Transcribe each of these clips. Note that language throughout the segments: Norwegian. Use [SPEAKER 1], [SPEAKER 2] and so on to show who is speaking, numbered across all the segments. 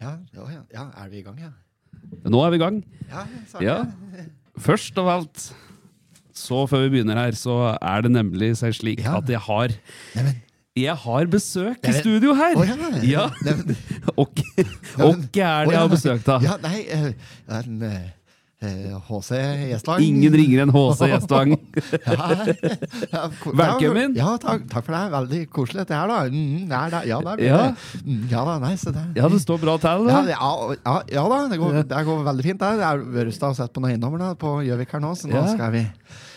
[SPEAKER 1] Ja, ja, ja, ja, er vi i gang, ja?
[SPEAKER 2] Nå er vi i gang.
[SPEAKER 1] Ja, sa
[SPEAKER 2] Ja. Først av alt, så før vi begynner her, så er det nemlig seg slik
[SPEAKER 1] Ja.
[SPEAKER 2] at jeg har
[SPEAKER 1] Neimen,
[SPEAKER 2] Jeg har besøk i
[SPEAKER 1] Neimen.
[SPEAKER 2] studio her!
[SPEAKER 1] å ja!
[SPEAKER 2] Ja.
[SPEAKER 1] Neimen,
[SPEAKER 2] Og hvem er det jeg har besøk av?
[SPEAKER 1] Ja, nei, eh, en eh, eh, HC Gjestvang.
[SPEAKER 2] Ingen ringer enn HC Gjestvang.
[SPEAKER 1] Ja, ko-
[SPEAKER 2] Velkommen.
[SPEAKER 1] Ja, takk, takk for det. Veldig koselig dette her, da. Mm, det er det. Ja, det er,
[SPEAKER 2] Ja.
[SPEAKER 1] Mm, ja da, nei, så det
[SPEAKER 2] Ja, det står bra til.
[SPEAKER 1] ja,
[SPEAKER 2] da.
[SPEAKER 1] det- ja, ja, ja da, det går, det går veldig fint. Det Jeg har Børrestad sett på noen eiendommer da, på Gjøvik her nå, så nå
[SPEAKER 2] Ja.
[SPEAKER 1] skal vi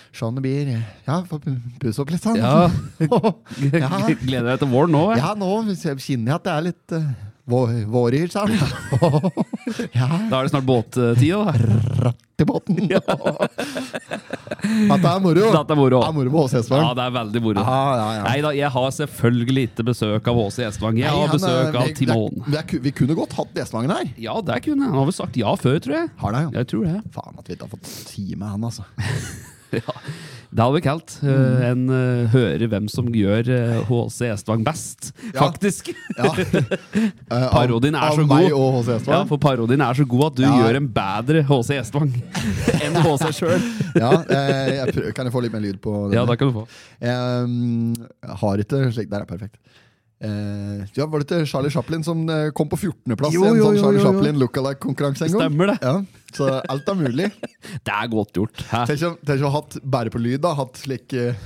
[SPEAKER 1] se om det blir Ja, få pu- pusse opp litt, sånn.
[SPEAKER 2] Ja.
[SPEAKER 1] Ja.
[SPEAKER 2] Gleder deg til våren nå? jeg.
[SPEAKER 1] Ja, nå kjenner jeg at det er litt uh, våryr, sa han. ja,
[SPEAKER 2] Da er det snart båttid. da.
[SPEAKER 1] til båten. At det er moro. Det
[SPEAKER 2] Dette er moro.
[SPEAKER 1] er moro på
[SPEAKER 2] Ja,
[SPEAKER 1] Åsesvang.
[SPEAKER 2] det er veldig moro.
[SPEAKER 1] Ja, ja, ja.
[SPEAKER 2] Nei da, jeg har selvfølgelig ikke besøk av HC Gjestvang. Jeg
[SPEAKER 1] Nei,
[SPEAKER 2] har
[SPEAKER 1] han,
[SPEAKER 2] besøk
[SPEAKER 1] eh,
[SPEAKER 2] av
[SPEAKER 1] vi- vi-
[SPEAKER 2] Timon.
[SPEAKER 1] Vi, er ku- vi kunne godt hatt Gjesvangen her.
[SPEAKER 2] Ja, det kunne jeg. Han har vel sagt ja før, tror jeg.
[SPEAKER 1] Har det, ja.
[SPEAKER 2] Jeg tror det.
[SPEAKER 1] Faen at vi ikke har fått si med han, altså.
[SPEAKER 2] Ja. Det hadde vi kalt
[SPEAKER 1] Mm.
[SPEAKER 2] eh, en eh, høre hvem som gjør eh, HC Gjestvang best,
[SPEAKER 1] Ja.
[SPEAKER 2] faktisk.
[SPEAKER 1] Ja. Eh,
[SPEAKER 2] Parodien er
[SPEAKER 1] av,
[SPEAKER 2] så
[SPEAKER 1] av Meg
[SPEAKER 2] god.
[SPEAKER 1] og H.C.
[SPEAKER 2] Ja,
[SPEAKER 1] Gjestvang.
[SPEAKER 2] for parodien er så god at du
[SPEAKER 1] Sånn. Ja.
[SPEAKER 2] gjør en bedre HC Gjestvang enn HC sjøl.
[SPEAKER 1] Ja, eh, jeg prøver, kan jeg få litt mer lyd på den?
[SPEAKER 2] Ja, det kan du få.
[SPEAKER 1] Jeg Eh, har ikke slik Der er perfekt. Eh, ja, var det ikke Charlie Chaplin som eh, kom på 14.-plass i
[SPEAKER 2] Jo,
[SPEAKER 1] en
[SPEAKER 2] jo,
[SPEAKER 1] sånn
[SPEAKER 2] jo,
[SPEAKER 1] Charlie
[SPEAKER 2] jo, jo.
[SPEAKER 1] Chaplin lookalike-konkurranse en gang?
[SPEAKER 2] Stemmer det.
[SPEAKER 1] Ja, så alt er mulig.
[SPEAKER 2] Det er godt gjort. Hæ?
[SPEAKER 1] Tenk om- tenk om å ha hatt bare på lyd, da. Hatt slik eh,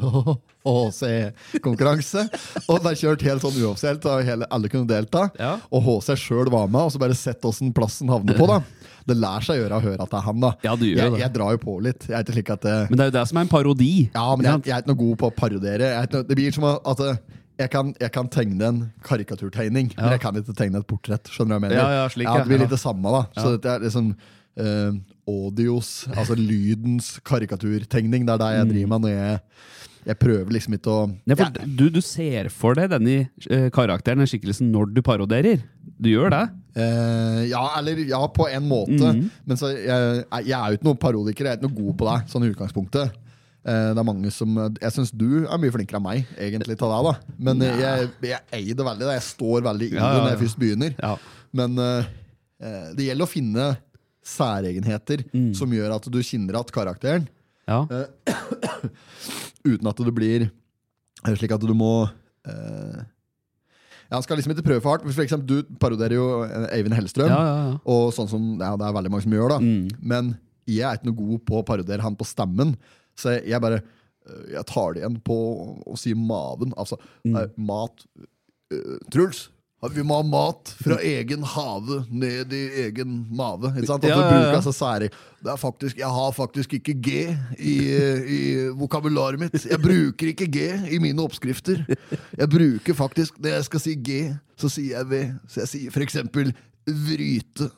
[SPEAKER 1] HC-konkurranse. Og bare kjørt helt sånn uoffisielt, og hele, alle kunne delta.
[SPEAKER 2] Ja.
[SPEAKER 1] Og HC sjøl var med, og så bare sett åssen plassen havner på, da. Det lærer seg å gjøre å høre at det er han, da.
[SPEAKER 2] Ja, det gjør
[SPEAKER 1] jeg,
[SPEAKER 2] det.
[SPEAKER 1] jeg drar jo på litt. Jeg er ikke slik at eh,
[SPEAKER 2] Men det er jo det som er en parodi.
[SPEAKER 1] ja, men jeg, jeg er ikke noe god på å parodere. Jeg er ikke noe, det blir som at at, eh, jeg kan, jeg kan tegne en karikaturtegning, men
[SPEAKER 2] Ja.
[SPEAKER 1] jeg kan ikke tegne et portrett. Skjønner du hva jeg mener?
[SPEAKER 2] Ja, ja, slik,
[SPEAKER 1] Det blir
[SPEAKER 2] ja.
[SPEAKER 1] litt det samme, da. Så dette er liksom eh, audios, altså lydens karikaturtegning. Det er det jeg driver med når jeg, jeg prøver liksom ikke å
[SPEAKER 2] Nei, Mm. for
[SPEAKER 1] jeg,
[SPEAKER 2] du, du ser for deg denne eh, karakteren, den skikkelsen, når du paroderer. Du gjør det.
[SPEAKER 1] eh, Ja, eller ja, på en måte.
[SPEAKER 2] Mhm.
[SPEAKER 1] Men så, jeg, jeg er jo ikke noen parodiker. Jeg er ikke noe god på det, sånn i utgangspunktet. Eh, det er mange som Jeg syns du er mye flinkere enn meg, egentlig, til det, da. Men eh, jeg, jeg eier det veldig. Da. Jeg står veldig i
[SPEAKER 2] Ja,
[SPEAKER 1] det
[SPEAKER 2] ja,
[SPEAKER 1] når jeg
[SPEAKER 2] ja.
[SPEAKER 1] først begynner.
[SPEAKER 2] Ja.
[SPEAKER 1] Men eh, eh, det gjelder å finne særegenheter
[SPEAKER 2] Mm.
[SPEAKER 1] som gjør at du kjenner at karakteren,
[SPEAKER 2] ja.
[SPEAKER 1] uten at du blir eh, Slik at du må eh, ja, Han skal liksom ikke prøve for hardt. For eksempel, du paroderer jo eh, Eivind Hellstrøm.
[SPEAKER 2] Ja, ja, ja.
[SPEAKER 1] Og sånn som ja, det er veldig mange som gjør, da. Men jeg er ikke noe god på å parodiere han på stemmen, så jeg, jeg bare øh, Jeg tar det igjen på å, å si maven. Altså øh, mat øh, Truls! Vi må ha mat fra egen have ned i egen mave. Ikke sant? At
[SPEAKER 2] Ja,
[SPEAKER 1] du
[SPEAKER 2] ja,
[SPEAKER 1] bruker
[SPEAKER 2] ja.
[SPEAKER 1] altså sære det er faktisk, Jeg har faktisk ikke G i, øh, i vokabularet mitt. Jeg bruker ikke G i mine oppskrifter. Jeg bruker faktisk Når jeg skal si G, så sier jeg V. Så jeg sier for eksempel vryte.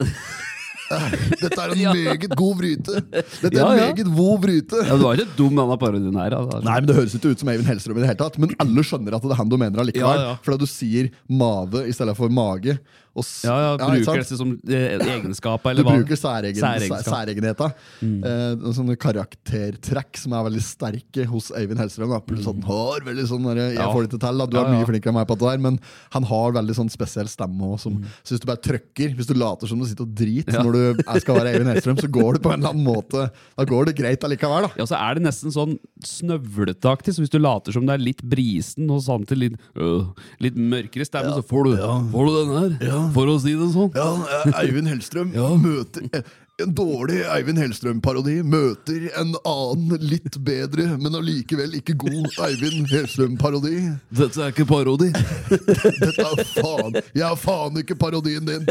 [SPEAKER 1] Dette er en meget god bryte. Dette er
[SPEAKER 2] Ja,
[SPEAKER 1] en
[SPEAKER 2] ja.
[SPEAKER 1] meget vond bryte.
[SPEAKER 2] ja, du var ikke dum, denne parodien her. Altså.
[SPEAKER 1] Nei, men Det høres ikke ut som Eivind Hellstrøm, i det hele tatt men alle skjønner at det er han du mener allikevel.
[SPEAKER 2] Ja, ja.
[SPEAKER 1] For at du sier mave i stedet for mage. Og s-
[SPEAKER 2] Ja, ja,
[SPEAKER 1] ikke
[SPEAKER 2] bruker
[SPEAKER 1] sant?
[SPEAKER 2] dette som eh, egenskaper,
[SPEAKER 1] Du
[SPEAKER 2] eller hva?
[SPEAKER 1] bruker særegn,
[SPEAKER 2] Særegenskap.
[SPEAKER 1] særegenheta.
[SPEAKER 2] Mm.
[SPEAKER 1] Eh, noen sånne karaktertrekk som er veldig sterke hos Eivind Hellstrøm. Da. Pluss at han har veldig sånn der, Jeg
[SPEAKER 2] Mm. Ja.
[SPEAKER 1] får det ikke til, da. Du
[SPEAKER 2] Ja,
[SPEAKER 1] er mye
[SPEAKER 2] ja.
[SPEAKER 1] flinkere enn meg på det der, men han har veldig sånn spesiell stemme også, som
[SPEAKER 2] Mm.
[SPEAKER 1] Så hvis du bare trøkker, hvis du later som du sitter og driter når du er- skal være Eivind Hellstrøm, så går det på en eller annen måte Da går det greit allikevel, da.
[SPEAKER 2] Ja, så er det nesten sånn snøvletaktig, så hvis du later som det er litt brisen og samtidig litt, øh, litt mørkere stemme, så får du, får du den her, for å si det sånn.
[SPEAKER 1] Ja, eh, Eivind Hellstrøm møter eh, En dårlig Eivind Hellstrøm-parodi møter en annen litt bedre, men allikevel ikke god Eivind Hellstrøm-parodi.
[SPEAKER 2] Dette er ikke parodi.
[SPEAKER 1] Dette er faen Jeg er faen ikke parodien din!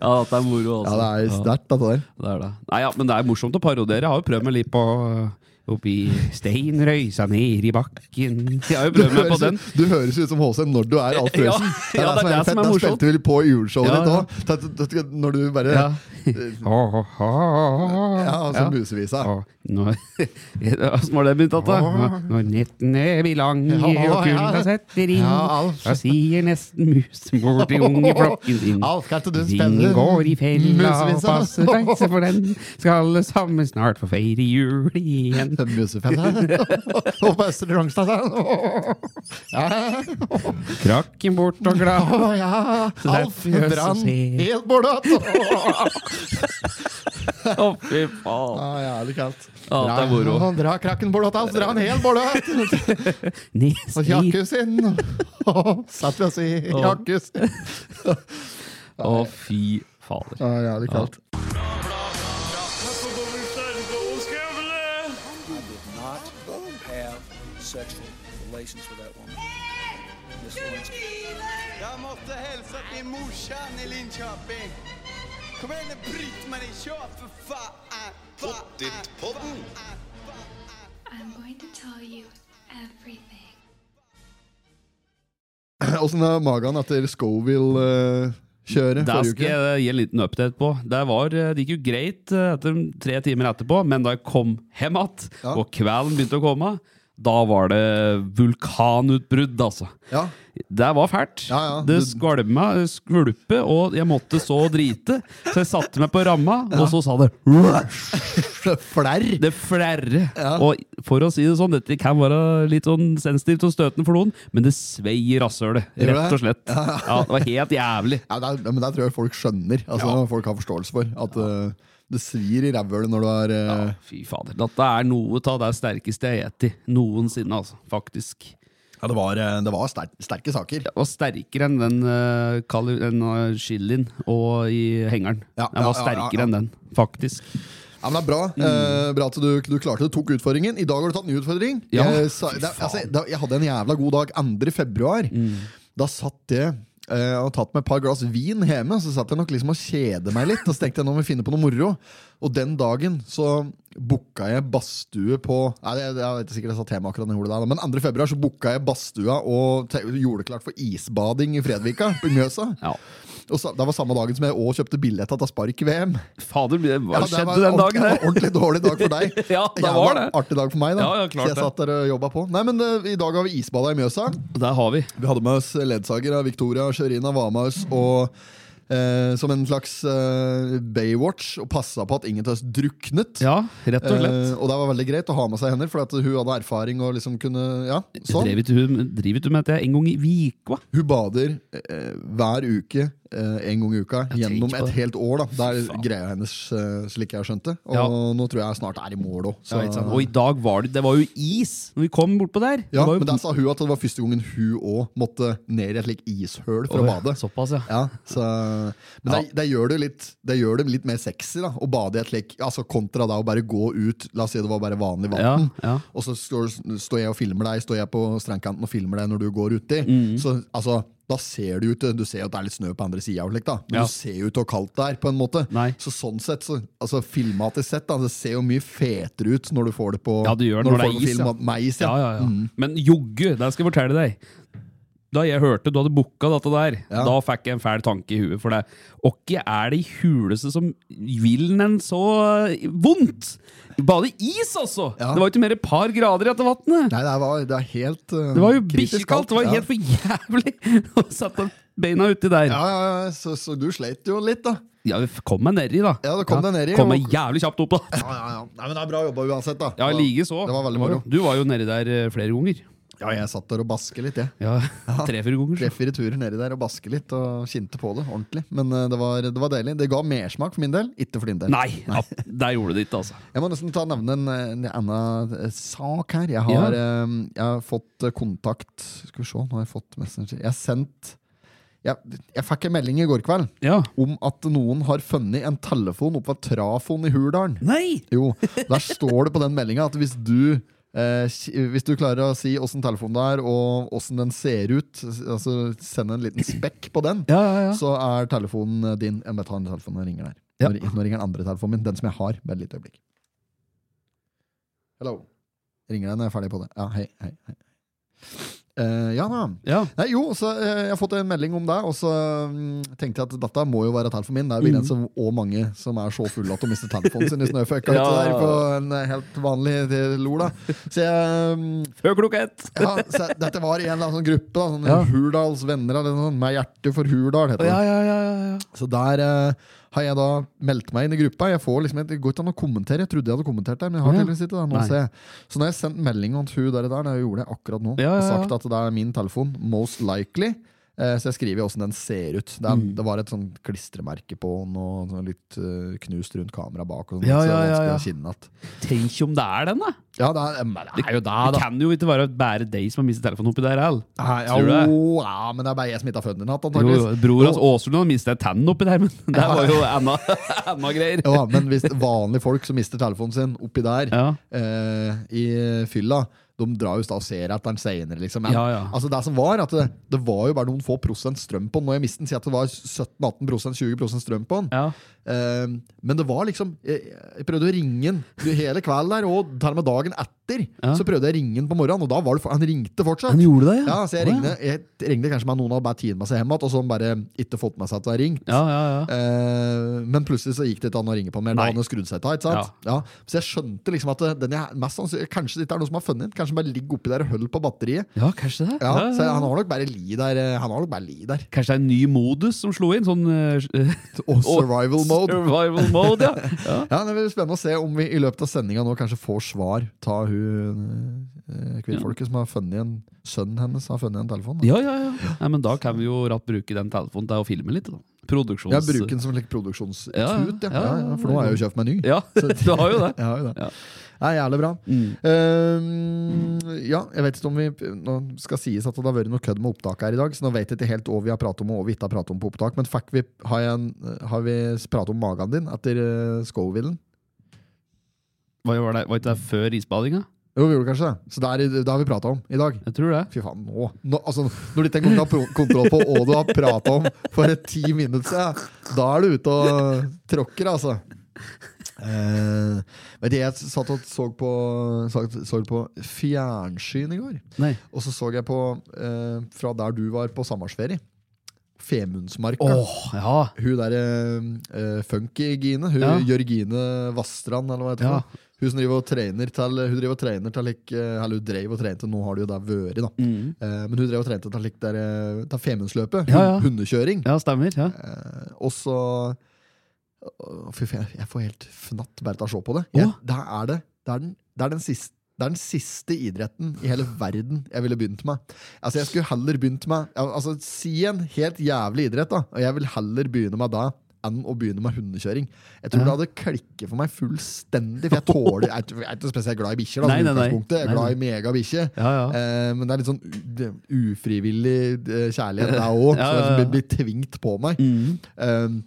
[SPEAKER 2] Ja, det er moro altså.
[SPEAKER 1] Ja, det er sterkt, dette der.
[SPEAKER 2] Ja, det er det. Nei, ja, men det er morsomt å parodere. Jeg har jo prøvd meg litt på... øh, Oppi stein røysa ned i bakken Jeg har jo
[SPEAKER 1] Du
[SPEAKER 2] prøvd meg på
[SPEAKER 1] høres,
[SPEAKER 2] den
[SPEAKER 1] ut- du høres ut som HC når du er Alf
[SPEAKER 2] Ja,
[SPEAKER 1] Prøysen.
[SPEAKER 2] ja, det er det som er
[SPEAKER 1] Den
[SPEAKER 2] morsomt.
[SPEAKER 1] spilte vi på i juleshowet
[SPEAKER 2] Ja,
[SPEAKER 1] ditt
[SPEAKER 2] ja.
[SPEAKER 1] òg. Tenk- tenk- tenk Når du bare
[SPEAKER 2] Ja.
[SPEAKER 1] Ja, altså musevisa.
[SPEAKER 2] Ja, nå- Åssen var det begynt, Atta? Når, når nettene blir lange
[SPEAKER 1] Ja, ja.
[SPEAKER 2] og kulda setter inn,
[SPEAKER 1] Ja, Alf.
[SPEAKER 2] da sier nesten musemor til ungeflokken sin.
[SPEAKER 1] Alf, kan ikke du
[SPEAKER 2] Ingen
[SPEAKER 1] spille
[SPEAKER 2] går i fella og
[SPEAKER 1] musevisa?
[SPEAKER 2] passer seg, så for den skal alle sammen snart få feire jul igjen.
[SPEAKER 1] Det er musefett her. Og på Østre Rogstad. Ja,
[SPEAKER 2] Krakken bort og glad.
[SPEAKER 1] å, ja. Alf Brann, helt bordatt.
[SPEAKER 2] Å, fy faen.
[SPEAKER 1] Ja, jævlig kaldt.
[SPEAKER 2] Ja, det er moro.
[SPEAKER 1] Dra- Dra krakken bordatt, Alf. Dra den helt bordatt. Og jakken sin. Satt vi oss i jakken sin.
[SPEAKER 2] Å, fy fader.
[SPEAKER 1] Ja, jævlig kaldt.
[SPEAKER 3] not have sexual relations with that woman. Miss Lewinsky.
[SPEAKER 4] Jeg måtte hilse til morsan i Linköping. Kom igjen, Britt-Marie, kjør for faen! Pottitpodden!
[SPEAKER 5] I'm going to tell you everything.
[SPEAKER 1] Åssen er magen etter Scoville-kjøret
[SPEAKER 2] Der skal jeg gi en liten update på. Det, var, eh, det gikk jo greit eh, etter tre timer etterpå, men da jeg kom hjem igjen,
[SPEAKER 1] Ja.
[SPEAKER 2] og kvelden begynte å komme, da var det vulkanutbrudd, altså.
[SPEAKER 1] Ja.
[SPEAKER 2] Det var fælt.
[SPEAKER 1] Ja, ja.
[SPEAKER 2] Det
[SPEAKER 1] Du-
[SPEAKER 2] skvalma, skvulpe, og jeg måtte så drite. Så jeg satte meg på ramma, og så sa det
[SPEAKER 1] Flerr.
[SPEAKER 2] Det flerre. Og for å si det sånn, dette kan være litt sånn sensitivt og støtende for noen, men det svei i rasshølet.
[SPEAKER 1] Gjør det?
[SPEAKER 2] Rett og slett. Ja, det var helt jævlig.
[SPEAKER 1] Ja, men der, men der tror jeg folk skjønner. Altså, Folk har forståelse for at eh, det svir i rævhølet når du er eh,
[SPEAKER 2] Ja, Fy fader. Dette er noe av det sterkeste jeg har spist noensinne, altså. Faktisk.
[SPEAKER 1] Ja, det var, eh, det var sterk, sterke saker.
[SPEAKER 2] Det var sterkere enn den, eh, kali- den eh, chilien og i hengeren.
[SPEAKER 1] Ja,
[SPEAKER 2] Den
[SPEAKER 1] ja, ja,
[SPEAKER 2] var
[SPEAKER 1] ja,
[SPEAKER 2] sterkere
[SPEAKER 1] ja.
[SPEAKER 2] enn den, faktisk.
[SPEAKER 1] Ja, men det er Bra
[SPEAKER 2] Mm.
[SPEAKER 1] Eh, Bra at du, du klarte det, tok utfordringen. I dag har du tatt en ny utfordring.
[SPEAKER 2] Ja,
[SPEAKER 1] jeg, sa,
[SPEAKER 2] fy
[SPEAKER 1] det, altså,
[SPEAKER 2] faen. Mm.
[SPEAKER 1] da, jeg hadde en jævla god dag 2. februar. Da satt jeg eh, og tatt meg et par glass vin hjemme, så satt jeg nok liksom og kjede meg litt. Og så tenkte jeg nå må vi finne på noe moro. Og den dagen så booka jeg badstue på Nei, jeg, jeg vet ikke sikkert jeg sa tema akkurat når jeg gjorde det der, men 2. februar så booka jeg badstua og te, gjorde det klart for isbading i Fredvika, på Mjøsa.
[SPEAKER 2] Ja.
[SPEAKER 1] Og sa- det var samme dagen som jeg òg kjøpte billetta til Spark-VM.
[SPEAKER 2] Fader, hva
[SPEAKER 1] Ja, det
[SPEAKER 2] skjedde
[SPEAKER 1] var
[SPEAKER 2] den
[SPEAKER 1] ordentlig-
[SPEAKER 2] dagen
[SPEAKER 1] det var
[SPEAKER 2] der?
[SPEAKER 1] Ordentlig dårlig dag for deg.
[SPEAKER 2] Ja, det
[SPEAKER 1] Jævla
[SPEAKER 2] var det.
[SPEAKER 1] Artig dag for meg, da.
[SPEAKER 2] Ja, ja, klart
[SPEAKER 1] så jeg
[SPEAKER 2] det.
[SPEAKER 1] satt der og jobba på. Nei, men eh, I dag har vi isbada i Mjøsa.
[SPEAKER 2] Der har vi.
[SPEAKER 1] Vi hadde med oss ledsager av Victoria Sjørina Vamaus og eh, som en slags eh, Baywatch og passa på at ingen av oss druknet.
[SPEAKER 2] Ja, rett og slett.
[SPEAKER 1] Eh, og det var veldig greit å ha med seg henne, for at hun hadde erfaring og liksom kunne Ja, sånn.
[SPEAKER 2] Drev ikke hun driver ikke hun med at jeg en gang i uka?
[SPEAKER 1] Hun bader eh, hver uke, eh, en gang i uka,
[SPEAKER 2] Jeg tenker
[SPEAKER 1] gjennom
[SPEAKER 2] på
[SPEAKER 1] et
[SPEAKER 2] det.
[SPEAKER 1] helt år. da Det er
[SPEAKER 2] faen.
[SPEAKER 1] greia hennes, eh, slik jeg har skjønt det. Og
[SPEAKER 2] Ja.
[SPEAKER 1] nå tror jeg snart er i mål òg.
[SPEAKER 2] Ja, ikke altså. sant? og i dag var det Det var jo is når vi kom bortpå der. Det
[SPEAKER 1] Ja,
[SPEAKER 2] var jo,
[SPEAKER 1] men der sa hun at det var første gangen hun òg måtte ned i et slikt ishøl for
[SPEAKER 2] Åh,
[SPEAKER 1] å
[SPEAKER 2] ja,
[SPEAKER 1] bade.
[SPEAKER 2] Såpass, ja.
[SPEAKER 1] Ja, så, men
[SPEAKER 2] Ja.
[SPEAKER 1] Det, det gjør det litt Det gjør det litt mer sexy da å bade i et lek altså kontra da å bare gå ut. La oss si det var bare vanlig vann.
[SPEAKER 2] Ja, ja.
[SPEAKER 1] Og så står, står jeg og filmer deg Står jeg på strandkanten og filmer deg når du går uti.
[SPEAKER 2] Mhm.
[SPEAKER 1] Så altså da ser du ut, Du ser jo at det er litt snø på andre sida, men
[SPEAKER 2] Ja.
[SPEAKER 1] du ser jo ikke hvor kaldt det er. på en måte
[SPEAKER 2] Nei.
[SPEAKER 1] Så Sånn sett, så, altså filmatisk sett, da, det ser jo mye fetere ut når du får det på
[SPEAKER 2] Ja, du gjør
[SPEAKER 1] når
[SPEAKER 2] det
[SPEAKER 1] du
[SPEAKER 2] når det er
[SPEAKER 1] får på
[SPEAKER 2] is,
[SPEAKER 1] film,
[SPEAKER 2] ja.
[SPEAKER 1] at- med is.
[SPEAKER 2] ja, ja, ja.
[SPEAKER 1] Mm.
[SPEAKER 2] Men jogge, det skal jeg fortelle deg. Da jeg hørte du hadde booka dette der,
[SPEAKER 1] Ja.
[SPEAKER 2] da fikk jeg en fæl tanke i huet. For det Åkke er det i huleste som vil en så vondt? Bade is, altså!
[SPEAKER 1] Ja.
[SPEAKER 2] Det var jo ikke mer et par grader etter vannet!
[SPEAKER 1] Nei, det var, det er helt uh,
[SPEAKER 2] Det var jo
[SPEAKER 1] kritisk
[SPEAKER 2] bikkjekaldt! Det var
[SPEAKER 1] ja.
[SPEAKER 2] helt for jævlig å sette beina uti der.
[SPEAKER 1] Ja, ja, ja. Så, så du sleit jo litt, da.
[SPEAKER 2] Ja, kom meg nedi, da.
[SPEAKER 1] Ja, det kom deg nedi,
[SPEAKER 2] Kom
[SPEAKER 1] og-
[SPEAKER 2] meg jævlig kjapt opp, da.
[SPEAKER 1] Ja, ja, ja. Nei, men Det er bra jobba uansett, da.
[SPEAKER 2] Ja,
[SPEAKER 1] Det var-
[SPEAKER 2] like så.
[SPEAKER 1] Det var veldig moro.
[SPEAKER 2] Du var jo nedi der eh, flere ganger.
[SPEAKER 1] Ja, jeg satt der og baske litt, jeg.
[SPEAKER 2] Ja, Tre-fire ganger. så.
[SPEAKER 1] Tre-fire turer nedi der og baske litt og kjente på det ordentlig. Men eh, det var, det var deilig. Det ga mersmak for min del, ikke for din del.
[SPEAKER 2] Nei, ja, der gjorde det ikke, altså.
[SPEAKER 1] Jeg må nesten ta nevne en, en annen eh, sak her. Jeg har, eh, jeg har fått eh, kontakt Skal vi se, nå har jeg fått Messenger. Jeg har sendt jeg, jeg fikk en melding i går kveld
[SPEAKER 2] Ja.
[SPEAKER 1] om at noen har funnet en telefon oppe ved Trafon i Hurdalen.
[SPEAKER 2] Nei!
[SPEAKER 1] Jo, der står det på den meldinga at hvis du eh, ki- hvis du klarer å si åssen telefonen det er, og åssen den ser ut, s- altså send en liten spekk på den,
[SPEAKER 2] Ja, ja, ja.
[SPEAKER 1] så er telefonen din Jeg må ta den telefonen og ringer der.
[SPEAKER 2] Ja.
[SPEAKER 1] Nå, ri- nå ringer den andre telefonen min, den som jeg har. Bare et lite øyeblikk. Hello. Ringer deg når jeg er ferdig på det. Ja, hei, hei. hei. Eh, ja da.
[SPEAKER 2] ja.
[SPEAKER 1] Nei, jo, så eh, jeg har fått en melding om det, og så mm, tenkte jeg at dette må jo være telefonen min. Det er jo
[SPEAKER 2] Mm.
[SPEAKER 1] begrenset hvor mange som er så fulle at de mister telefonen sin i snøføkka
[SPEAKER 2] Ja.
[SPEAKER 1] ute der på en eh, helt vanlig eh, lor, da. Så jeg mm,
[SPEAKER 2] Før klokka ett!
[SPEAKER 1] ja, så jeg- dette var i en eller annen sånn gruppe, da, sånn
[SPEAKER 2] Ja.
[SPEAKER 1] Hurdals venner eller noe sånt, med hjerte for Hurdal, heter det.
[SPEAKER 2] Ja, ja, ja, ja, ja.
[SPEAKER 1] Så der eh, har jeg da meldt meg inn i gruppa. Jeg får liksom, det går ikke an å kommentere. Jeg trodde jeg hadde kommentert det, men jeg har
[SPEAKER 2] Ja.
[SPEAKER 1] tydeligvis ikke det. Nå
[SPEAKER 2] Nei.
[SPEAKER 1] ser jeg. Så når jeg sendte melding om at hun der, og der, når jeg gjorde det akkurat nå,
[SPEAKER 2] Ja, ja,
[SPEAKER 1] og
[SPEAKER 2] ja.
[SPEAKER 1] sagt at det er min telefon, most likely, eh, så jeg skriver åssen den ser ut. Det, er,
[SPEAKER 2] Mm.
[SPEAKER 1] det var et sånn klistremerke på den, og sånn litt eh, knust rundt kameraet bak. Og sånn,
[SPEAKER 2] Ja,
[SPEAKER 1] så det
[SPEAKER 2] ja,
[SPEAKER 1] er
[SPEAKER 2] ja,
[SPEAKER 1] vanskelig
[SPEAKER 2] ja.
[SPEAKER 1] å kjenne at
[SPEAKER 2] Tenk om det er den, da!
[SPEAKER 1] Ja, det er, men det
[SPEAKER 2] Det,
[SPEAKER 1] er jo det,
[SPEAKER 2] det
[SPEAKER 1] da.
[SPEAKER 2] kan jo ikke være bare deg som har mistet telefonen oppi der. Al.
[SPEAKER 1] Nei, ja,
[SPEAKER 2] Tror du det?
[SPEAKER 1] jo, ja, men det er bare jeg som ikke har født den i natt,
[SPEAKER 2] Jo,
[SPEAKER 1] antakeligvis.
[SPEAKER 2] jo, bror hans Åslund hadde mistet tennen oppi der, men det var jo enda, enda greier.
[SPEAKER 1] Ja, men hvis vanlige folk som mister telefonen sin oppi der,
[SPEAKER 2] Ja.
[SPEAKER 1] eh, i fylla, de drar jo da og ser etter den senere, liksom. Men,
[SPEAKER 2] Ja, ja.
[SPEAKER 1] Altså, det som var, at det, det var jo bare noen få prosent strøm på den. Når jeg mistet den, sier jeg at det var 17-18 prosent, 20 prosent strøm på den.
[SPEAKER 2] Ja.
[SPEAKER 1] Eh, men det var liksom jeg, jeg prøvde å ringe den hele kvelden der, og til og med dagen etter
[SPEAKER 2] Ja.
[SPEAKER 1] så prøvde jeg å ringe den på morgenen, og da var det, for- han ringte fortsatt.
[SPEAKER 2] Han gjorde det,
[SPEAKER 1] Ja, så jeg ringte, jeg ringte kanskje med noen og bare tiden med seg hjemme, og så bare ikke fått med seg at det er ringt.
[SPEAKER 2] Ja, ja, ja.
[SPEAKER 1] Eh, men plutselig så gikk det ikke an å ringe på mer. Da
[SPEAKER 2] Nei.
[SPEAKER 1] hadde han skrudd seg til, ikke sant? Ja. Så jeg skjønte liksom at den jeg mest sannsynlig Kanskje det ikke er noen som har funnet den? Kanskje den bare ligger oppi der og holder på batteriet?
[SPEAKER 2] Ja, kanskje det.
[SPEAKER 1] Ja,
[SPEAKER 2] Ja,
[SPEAKER 1] Så
[SPEAKER 2] ja.
[SPEAKER 1] han har nok bare li der. eh, Han har nok bare li der.
[SPEAKER 2] Kanskje det er en ny modus som slo inn? Sånn eh,
[SPEAKER 1] Og survival mode.
[SPEAKER 2] Survival mode, ja. ja.
[SPEAKER 1] Ja, Det blir spennende å se om vi i løpet av sendinga nå kanskje får svar ta hun eh, kvinnfolket som har funnet en Sønnen hennes har funnet en telefon. Da.
[SPEAKER 2] Ja, ja, ja. Nei, men da kan vi jo ratt bruke den telefonen til å filme litt. Da. Produksjons...
[SPEAKER 1] Jeg bruker den som en slik produksjonstut, ja,
[SPEAKER 2] Ja, ja,
[SPEAKER 1] ja,
[SPEAKER 2] ja,
[SPEAKER 1] ja,
[SPEAKER 2] ja,
[SPEAKER 1] for nå har jeg jo kjøpt meg ny.
[SPEAKER 2] Ja, du har jo det. Mm.
[SPEAKER 1] Jeg har jo det.
[SPEAKER 2] Ja.
[SPEAKER 1] Det er jævlig bra. Ehm, ja, jeg vet ikke om vi Nå skal sies at det har vært noe kødd med opptaket her i dag, så nå vet jeg ikke helt hva vi har pratet om og hva vi ikke har pratet om på opptak, men fikk vi, har, jeg en, har vi pratet om magen din etter uh, Scoville-en?
[SPEAKER 2] Hva var, det? var ikke det før isbadinga?
[SPEAKER 1] Jo, vi gjorde kanskje det. Så det, er, det har vi pratet om i dag.
[SPEAKER 2] Jeg tror det.
[SPEAKER 1] Fy faen, nå, nå altså, Når du ikke engang har pro- kontroll på hva du har pratet om for et ti minutter siden, da er du ute og tråkker, altså. Eh, vet du, jeg satt og så på, så, så på fjernsyn i går.
[SPEAKER 2] Nei.
[SPEAKER 1] Og så så jeg på eh, fra der du var på sommersferie. Femundsmarka.
[SPEAKER 2] Åh, ja.
[SPEAKER 1] Hun derre uh, funky-Gine. Hun
[SPEAKER 2] Ja.
[SPEAKER 1] Jørgine Vassstrand, eller hva heter
[SPEAKER 2] Ja.
[SPEAKER 1] det. Hun som driver og trener til Hun driver og trener til lik, eh, Eller hun drev og trente, nå har det jo der vært, da.
[SPEAKER 2] Mm.
[SPEAKER 1] Eh, men hun drev og trente til lik der eh, Til Femundsløpet.
[SPEAKER 2] Ja, ja.
[SPEAKER 1] Hundekjøring.
[SPEAKER 2] Ja, stemmer. Ja.
[SPEAKER 1] Eh, og så Å, Fy faen, jeg får helt fnatt bare til å se på det. Jeg,
[SPEAKER 2] Åh.
[SPEAKER 1] det, er det. Det, er den, det, er den siste, det er den siste idretten i hele verden jeg ville begynt med. Altså, jeg skulle heller begynt med ja, altså, Si en helt jævlig idrett, da. Og jeg vil heller begynne med det enn å begynne med hundekjøring. Jeg tror det hadde klikket for meg fullstendig. For jeg tåler Jeg er ikke- jeg er ikke spesielt glad i bikkjer. da,
[SPEAKER 2] Nei,
[SPEAKER 1] i
[SPEAKER 2] nei, nei.
[SPEAKER 1] utgangspunktet. Jeg er
[SPEAKER 2] Nei,
[SPEAKER 1] glad i megabikkjer.
[SPEAKER 2] Ja, ja.
[SPEAKER 1] Eh, men det er litt sånn u- det- ufrivillig eh, kjærlighet, det òg.
[SPEAKER 2] Ja,
[SPEAKER 1] Så
[SPEAKER 2] ja,
[SPEAKER 1] det
[SPEAKER 2] ja.
[SPEAKER 1] blir- blir tvingt på meg.
[SPEAKER 2] Mm.
[SPEAKER 1] Um,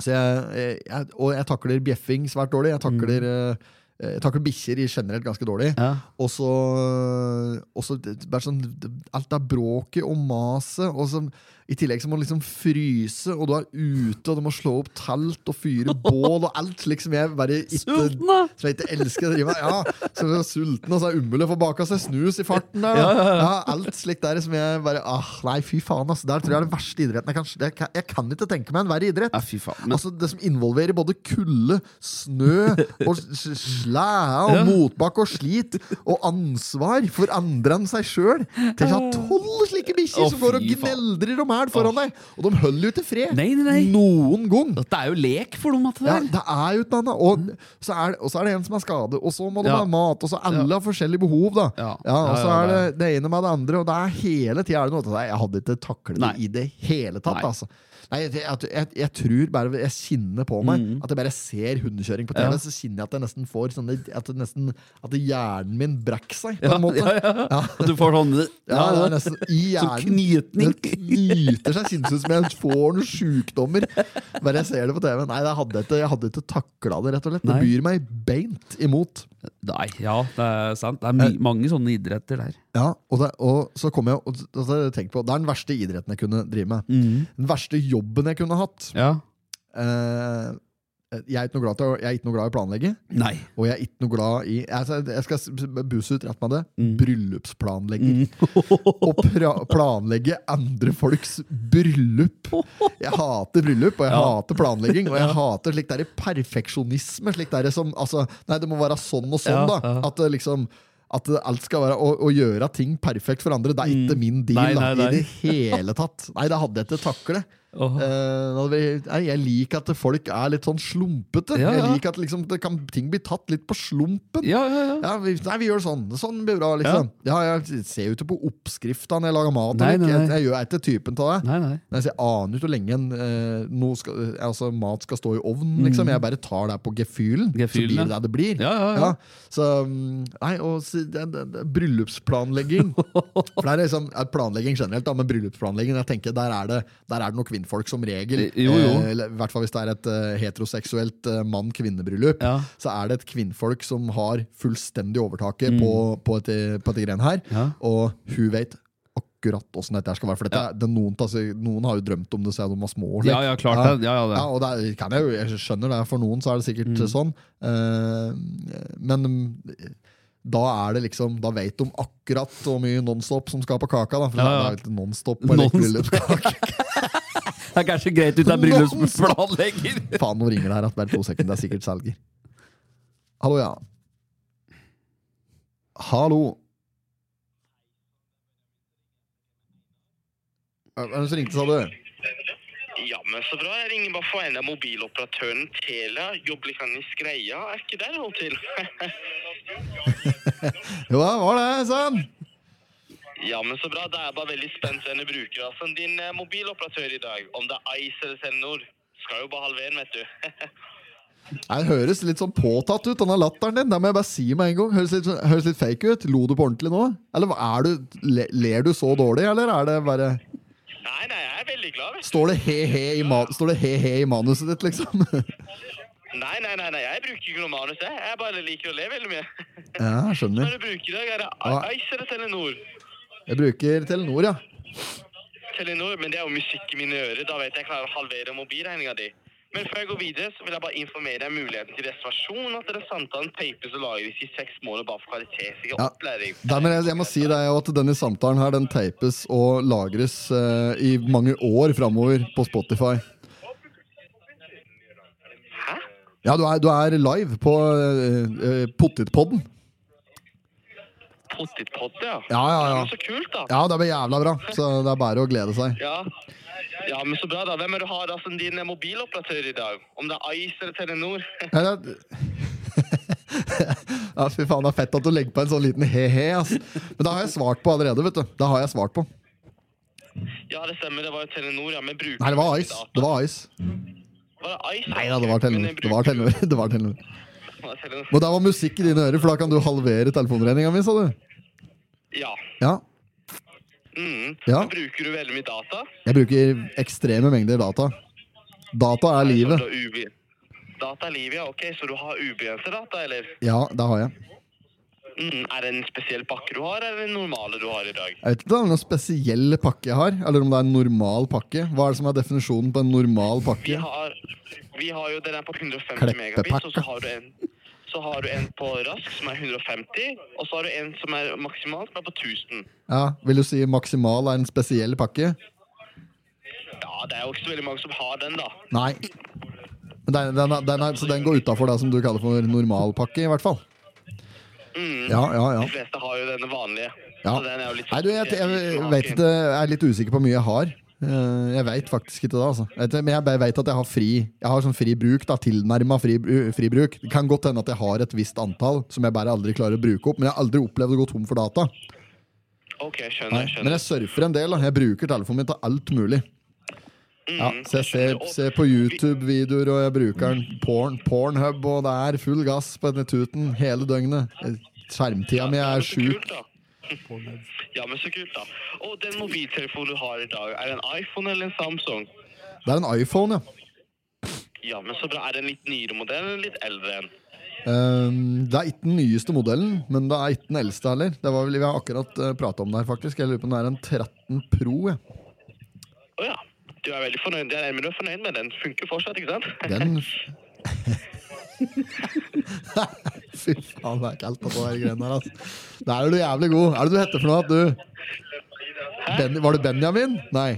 [SPEAKER 1] så jeg, jeg, og jeg takler bjeffing svært dårlig. Jeg takler, mm. jeg takler bikkjer i generelt ganske dårlig.
[SPEAKER 2] Ja.
[SPEAKER 1] Og så og så det- bare sånn, det- Alt det bråket og maset. Og så, I tillegg så må du liksom fryse, og du er ute, og du må slå opp telt og fyre bål og alt. slik som jeg bare ikke
[SPEAKER 2] Sulten, da!
[SPEAKER 1] som jeg ikke elsker å drive med. Ja, så er jeg sulten, og så er det umulig å få baka seg snus i farten. Der, da. Ja, alt slikt der som jeg bare ah, Nei, fy faen, altså. Der tror jeg er den verste idretten jeg kan, jeg kan, jeg kan ikke tenke meg en verre idrett.
[SPEAKER 2] Ja, fy faen. Men,
[SPEAKER 1] Altså Det som involverer både kulde, snø, og s- s- slæ og
[SPEAKER 2] Ja.
[SPEAKER 1] motbakke og slit, og ansvar for andre enn seg sjøl. Tenk å ha tolv slike bikkjer
[SPEAKER 2] Å,
[SPEAKER 1] som går og
[SPEAKER 2] fy faen.
[SPEAKER 1] gneldrer og mæl foran deg! Og de holder jo ikke fred!
[SPEAKER 2] Nei, nei, nei.
[SPEAKER 1] Noen gang!
[SPEAKER 2] dette er jo lek for dem, at det
[SPEAKER 1] Ja,
[SPEAKER 2] der.
[SPEAKER 1] det er jo et eller annet. Og så er, det- og så er det en som er skadet, og så må det
[SPEAKER 2] Ja.
[SPEAKER 1] være mat. Og så alle
[SPEAKER 2] Ja.
[SPEAKER 1] har forskjellige behov, da.
[SPEAKER 2] Ja.
[SPEAKER 1] og så
[SPEAKER 2] Ja, ja,
[SPEAKER 1] er
[SPEAKER 2] ja.
[SPEAKER 1] det det ene med det andre, og det er hele tida er det noe til deg. Jeg hadde ikke taklet det
[SPEAKER 2] Nei.
[SPEAKER 1] i det hele tatt,
[SPEAKER 2] Nei.
[SPEAKER 1] altså. Nei, jeg, jeg, jeg, jeg tror bare Jeg kjenner på meg at jeg bare ser hundekjøring på TV,
[SPEAKER 2] Mm. Ja.
[SPEAKER 1] så kjenner jeg at jeg nesten får sånne At, det nesten, at hjernen min brekker seg, på
[SPEAKER 2] Ja,
[SPEAKER 1] en måte.
[SPEAKER 2] ja, ja.
[SPEAKER 1] Ja.
[SPEAKER 2] At du får sånn
[SPEAKER 1] Ja, det er nesten i
[SPEAKER 2] Sånn
[SPEAKER 1] hjernen.
[SPEAKER 2] knytning.
[SPEAKER 1] Det knyter seg sinnssykt som jeg får noen sjukdommer bare jeg ser det på TV. Nei, jeg hadde jeg ikke, jeg hadde ikke takla det, rett og slett. Det
[SPEAKER 2] Nei.
[SPEAKER 1] byr meg beint imot.
[SPEAKER 2] Nei, ja, det er sant. Det er my mange sånne idretter der.
[SPEAKER 1] Ja, og, det, og så kom jeg og, og så har jeg tenkt på Det er den verste idretten jeg kunne drive med. Den verste jobben jeg kunne hatt.
[SPEAKER 2] Mm. Ja.
[SPEAKER 1] Eh, jeg, er ikke noe glad til, å- jeg er ikke noe glad i å planlegge.
[SPEAKER 2] Nei.
[SPEAKER 1] Og jeg er ikke noe glad i altså, Jeg skal s- buse ut rett med det.
[SPEAKER 2] Mm.
[SPEAKER 1] Bryllupsplanlegger. Å pra planlegge andre folks bryllup. Jeg hater bryllup, og jeg hater planlegging. Og jeg hater slik derre perfeksjonisme. Slik derre som altså, Nei, det må være sånn og sånn,
[SPEAKER 2] Ja,
[SPEAKER 1] da.
[SPEAKER 2] ja.
[SPEAKER 1] At det liksom at det alt skal være å, å gjøre ting perfekt for andre. Det er ikke min deal da,
[SPEAKER 2] Mm. Nei, nei, nei.
[SPEAKER 1] i det hele tatt. Nei, det hadde jeg ikke taklet.
[SPEAKER 2] Åh.
[SPEAKER 1] Eh, da hadde vi- nei, jeg liker at folk er litt sånn slumpete.
[SPEAKER 2] Ja,
[SPEAKER 1] Jeg
[SPEAKER 2] ja.
[SPEAKER 1] liker at liksom, det kan, ting blir tatt litt på slumpen.
[SPEAKER 2] Ja, ja, ja.
[SPEAKER 1] Ja, vi, nei, vi gjør sånn. Sånn blir bra, liksom. Ja, jeg ser jo ikke på oppskrifta når jeg lager mat.
[SPEAKER 2] Nei,
[SPEAKER 1] eller ikke.
[SPEAKER 2] nei, nei.
[SPEAKER 1] Jeg, jeg gjør jeg er ikke typen til det.
[SPEAKER 2] Nei, nei.
[SPEAKER 1] Nei, så jeg aner ikke hvor lenge en, eh, noe skal, eh, altså, mat skal stå i ovnen. Liksom. Jeg bare tar det på gefühlen, så
[SPEAKER 2] Mm. Gefühlen,
[SPEAKER 1] blir
[SPEAKER 2] ja.
[SPEAKER 1] det det det blir.
[SPEAKER 2] Ja, ja, ja.
[SPEAKER 1] så, mm, nei, og, så, det, det, det, bryllupsplanlegging For det er liksom er planlegging generelt, da, men bryllupsplanlegging jeg tenker, der, er det, der er det noen kvinnfolk som regel.
[SPEAKER 2] Eh, jo, jo.
[SPEAKER 1] Eh, eller I hvert fall hvis det er et eh, heteroseksuelt eh, mann-kvinne-bryllup.
[SPEAKER 2] Ja.
[SPEAKER 1] Så er det et kvinnfolk som har fullstendig overtaket på, på, et, på et greiene her.
[SPEAKER 2] Mm. Ja.
[SPEAKER 1] Og hun vet akkurat åssen dette her skal være. For dette, er- det, er noen, altså, noen har jo drømt om det siden de var små. liksom.
[SPEAKER 2] Ja, ja, klart det. Ja, ja, det. Mm.
[SPEAKER 1] Ja, og det er, kan jeg, jo, jeg skjønner det, for noen så er det sikkert sånn. Eh, men mm, da er det liksom Da vet de akkurat hvor mye Nonstop som skal på kaka. Da, for
[SPEAKER 2] Ja,
[SPEAKER 1] det
[SPEAKER 2] ja.
[SPEAKER 1] er jo ikke Nonstop på et
[SPEAKER 2] Nonstop.
[SPEAKER 1] bryllupskake.
[SPEAKER 2] Det er kanskje greit ut av bryllupsplanlegger.
[SPEAKER 1] Faen, nå ringer det her at bare to sekunder. Det er sikkert selger. Hallo, ja. Hallo. Hvem er det som ringte, sa du?
[SPEAKER 6] Ja, men så bra. Jeg ringer bare for en av mobiloperatøren Telia. Jobber litt i Skreia. Er ikke der jeg holder til?
[SPEAKER 1] Jo, det var det, sann.
[SPEAKER 6] ja, men så bra. Da er jeg bare veldig spent på denne brukerrasen. Din eh, mobiloperatør i dag, om det er Ice eller Telenor, skal jo bare halvere den, vet du.
[SPEAKER 1] Det høres litt sånn påtatt ut, denne latteren din. Det må jeg bare si med en gang. Høres litt, høres litt fake ut. Lo du på ordentlig nå? Eller hva er du, le, ler du så dårlig, eller er det bare
[SPEAKER 6] nei, nei, jeg er veldig glad, vet du.
[SPEAKER 1] Står det he-he i, ma står det he -he i manuset ditt, liksom?
[SPEAKER 6] Nei, nei, nei, nei, jeg bruker ikke noe manus, jeg. Jeg bare liker å le veldig mye.
[SPEAKER 1] Ja, jeg
[SPEAKER 6] Hva
[SPEAKER 1] skjønner.
[SPEAKER 6] er det du bruker i dag? Er det
[SPEAKER 1] Ja.
[SPEAKER 6] I- Ice eller Telenor?
[SPEAKER 1] Jeg bruker Telenor, ja.
[SPEAKER 6] Telenor, men det er jo musikk i mine ører. Da vet jeg jeg klarer å halvere mobilregninga di. Men før jeg går videre, så vil jeg bare informere deg om muligheten til reservasjon, og at denne samtalen tapes og lagres i seks måneder bare for kvalitetssikker
[SPEAKER 1] Ja.
[SPEAKER 6] opplæring.
[SPEAKER 1] Nei, men jeg, jeg må si det er jo at denne samtalen her Den teipes og lagres eh, i mange år framover på Spotify.
[SPEAKER 6] Hæ?
[SPEAKER 1] Ja, du er, du er live på uh, Pottitpodden.
[SPEAKER 6] Pottitpott, ja.
[SPEAKER 1] Ja, ja, ja.
[SPEAKER 6] Men Så kult, da.
[SPEAKER 1] Ja, det blir jævla bra. Så det er bare å glede seg.
[SPEAKER 6] Ja. ja, men så bra, da. Hvem er det du har da som din eh, mobiloperatør i dag? Om det er Ice eller Telenor?
[SPEAKER 1] Ja, det- ja, fy faen, det er fett at du legger på en sånn liten he-he. Ass. Men det har jeg svart på allerede. vet du Det har jeg svart på
[SPEAKER 6] ja, det stemmer, det var jo Telenor, ja. Men bruker
[SPEAKER 1] Nei, det var
[SPEAKER 6] du
[SPEAKER 1] Ice. Det var Ice.
[SPEAKER 6] Var det Ice?
[SPEAKER 1] Nei da, det var
[SPEAKER 6] Men
[SPEAKER 1] Telenor.
[SPEAKER 6] jeg
[SPEAKER 1] Det var
[SPEAKER 6] bruker-
[SPEAKER 1] Telenor. Det var Telenor.
[SPEAKER 6] Det var Telenor.
[SPEAKER 1] Men det var musikk i dine ører, for da kan du halvere telefonregninga mi, sa du.
[SPEAKER 6] Ja.
[SPEAKER 1] Ja.
[SPEAKER 6] Mm.
[SPEAKER 1] Ja.
[SPEAKER 6] Men Bruker du veldig mye data?
[SPEAKER 1] Jeg bruker ekstreme mengder data. Data er livet.
[SPEAKER 6] Så du har ubi- Data er livet, ja. Ok, så du har ubegrenset data, eller?
[SPEAKER 1] Ja, det har jeg.
[SPEAKER 6] Mm, er det en spesiell pakke du har, eller den normale du har i dag?
[SPEAKER 1] Jeg vet ikke om det er noen spesiell pakke jeg har, eller om det er en normal pakke. Hva er det som er definisjonen på en normal
[SPEAKER 6] Vi
[SPEAKER 1] pakke?
[SPEAKER 6] har, vi har jo den er på 150
[SPEAKER 1] Kleppepakke.
[SPEAKER 6] megabit, og så har du en så har du en på rask som er 150, og så har du en som er maksimalt som er på 1000.
[SPEAKER 1] Ja, Vil du si maksimal er en spesiell pakke?
[SPEAKER 6] Ja, det er jo ikke så veldig mange som har den, da.
[SPEAKER 1] Nei. Men Den, den, er- den er, så den går utafor det som du kaller for normalpakke, i hvert fall?
[SPEAKER 6] Mm.
[SPEAKER 1] Ja, ja, ja.
[SPEAKER 6] De fleste har jo denne vanlige.
[SPEAKER 1] ja.
[SPEAKER 6] Så den er jo litt
[SPEAKER 1] Nei, du, jeg, jeg vet ikke. Jeg er litt usikker på hvor mye jeg har. Eh, Jeg veit faktisk ikke det, altså. Jeg vet- Men jeg bare vet at jeg har fri Jeg har sånn fri bruk, da. Tilnærma fri, bru- fri bruk. Det kan godt hende at jeg har et visst antall som jeg bare aldri klarer å bruke opp. Men jeg har aldri opplevd å gå tom for data.
[SPEAKER 6] Ok,
[SPEAKER 1] Men
[SPEAKER 6] skjønner, skjønner.
[SPEAKER 1] jeg surfer en del. da Jeg bruker telefonen min til alt mulig.
[SPEAKER 6] Mm,
[SPEAKER 1] Ja, så jeg ser, ser på YouTube-videoer, og jeg bruker den porn, Pornhub, og det er full gass på denne tuten hele døgnet. Skjermtida mi er
[SPEAKER 6] Så kult,
[SPEAKER 1] sjuk.
[SPEAKER 6] da. Ja, men så kult, da. Og den mobiltelefonen du har i dag, er det en iPhone eller en Samsung?
[SPEAKER 1] Det er en iPhone, ja.
[SPEAKER 6] Ja, men så bra. Er det en litt nyere modell eller litt eldre en?
[SPEAKER 1] Ehm, det er ikke den nyeste modellen, men det er ikke den eldste heller. Det var vel Vi har akkurat uh, prata om det her, faktisk. Jeg lurer på om det er en 13 Pro. Ja.
[SPEAKER 6] Å ja. Du er veldig fornøyd. Jeg regner med du er fornøyd med den. Funker fortsatt, ikke sant?
[SPEAKER 1] Den Fy faen, det er kaldt på de greiene her, altså. Der er du jævlig god. Er det du heter for noe, at du ben, Var det Benjamin? Nei.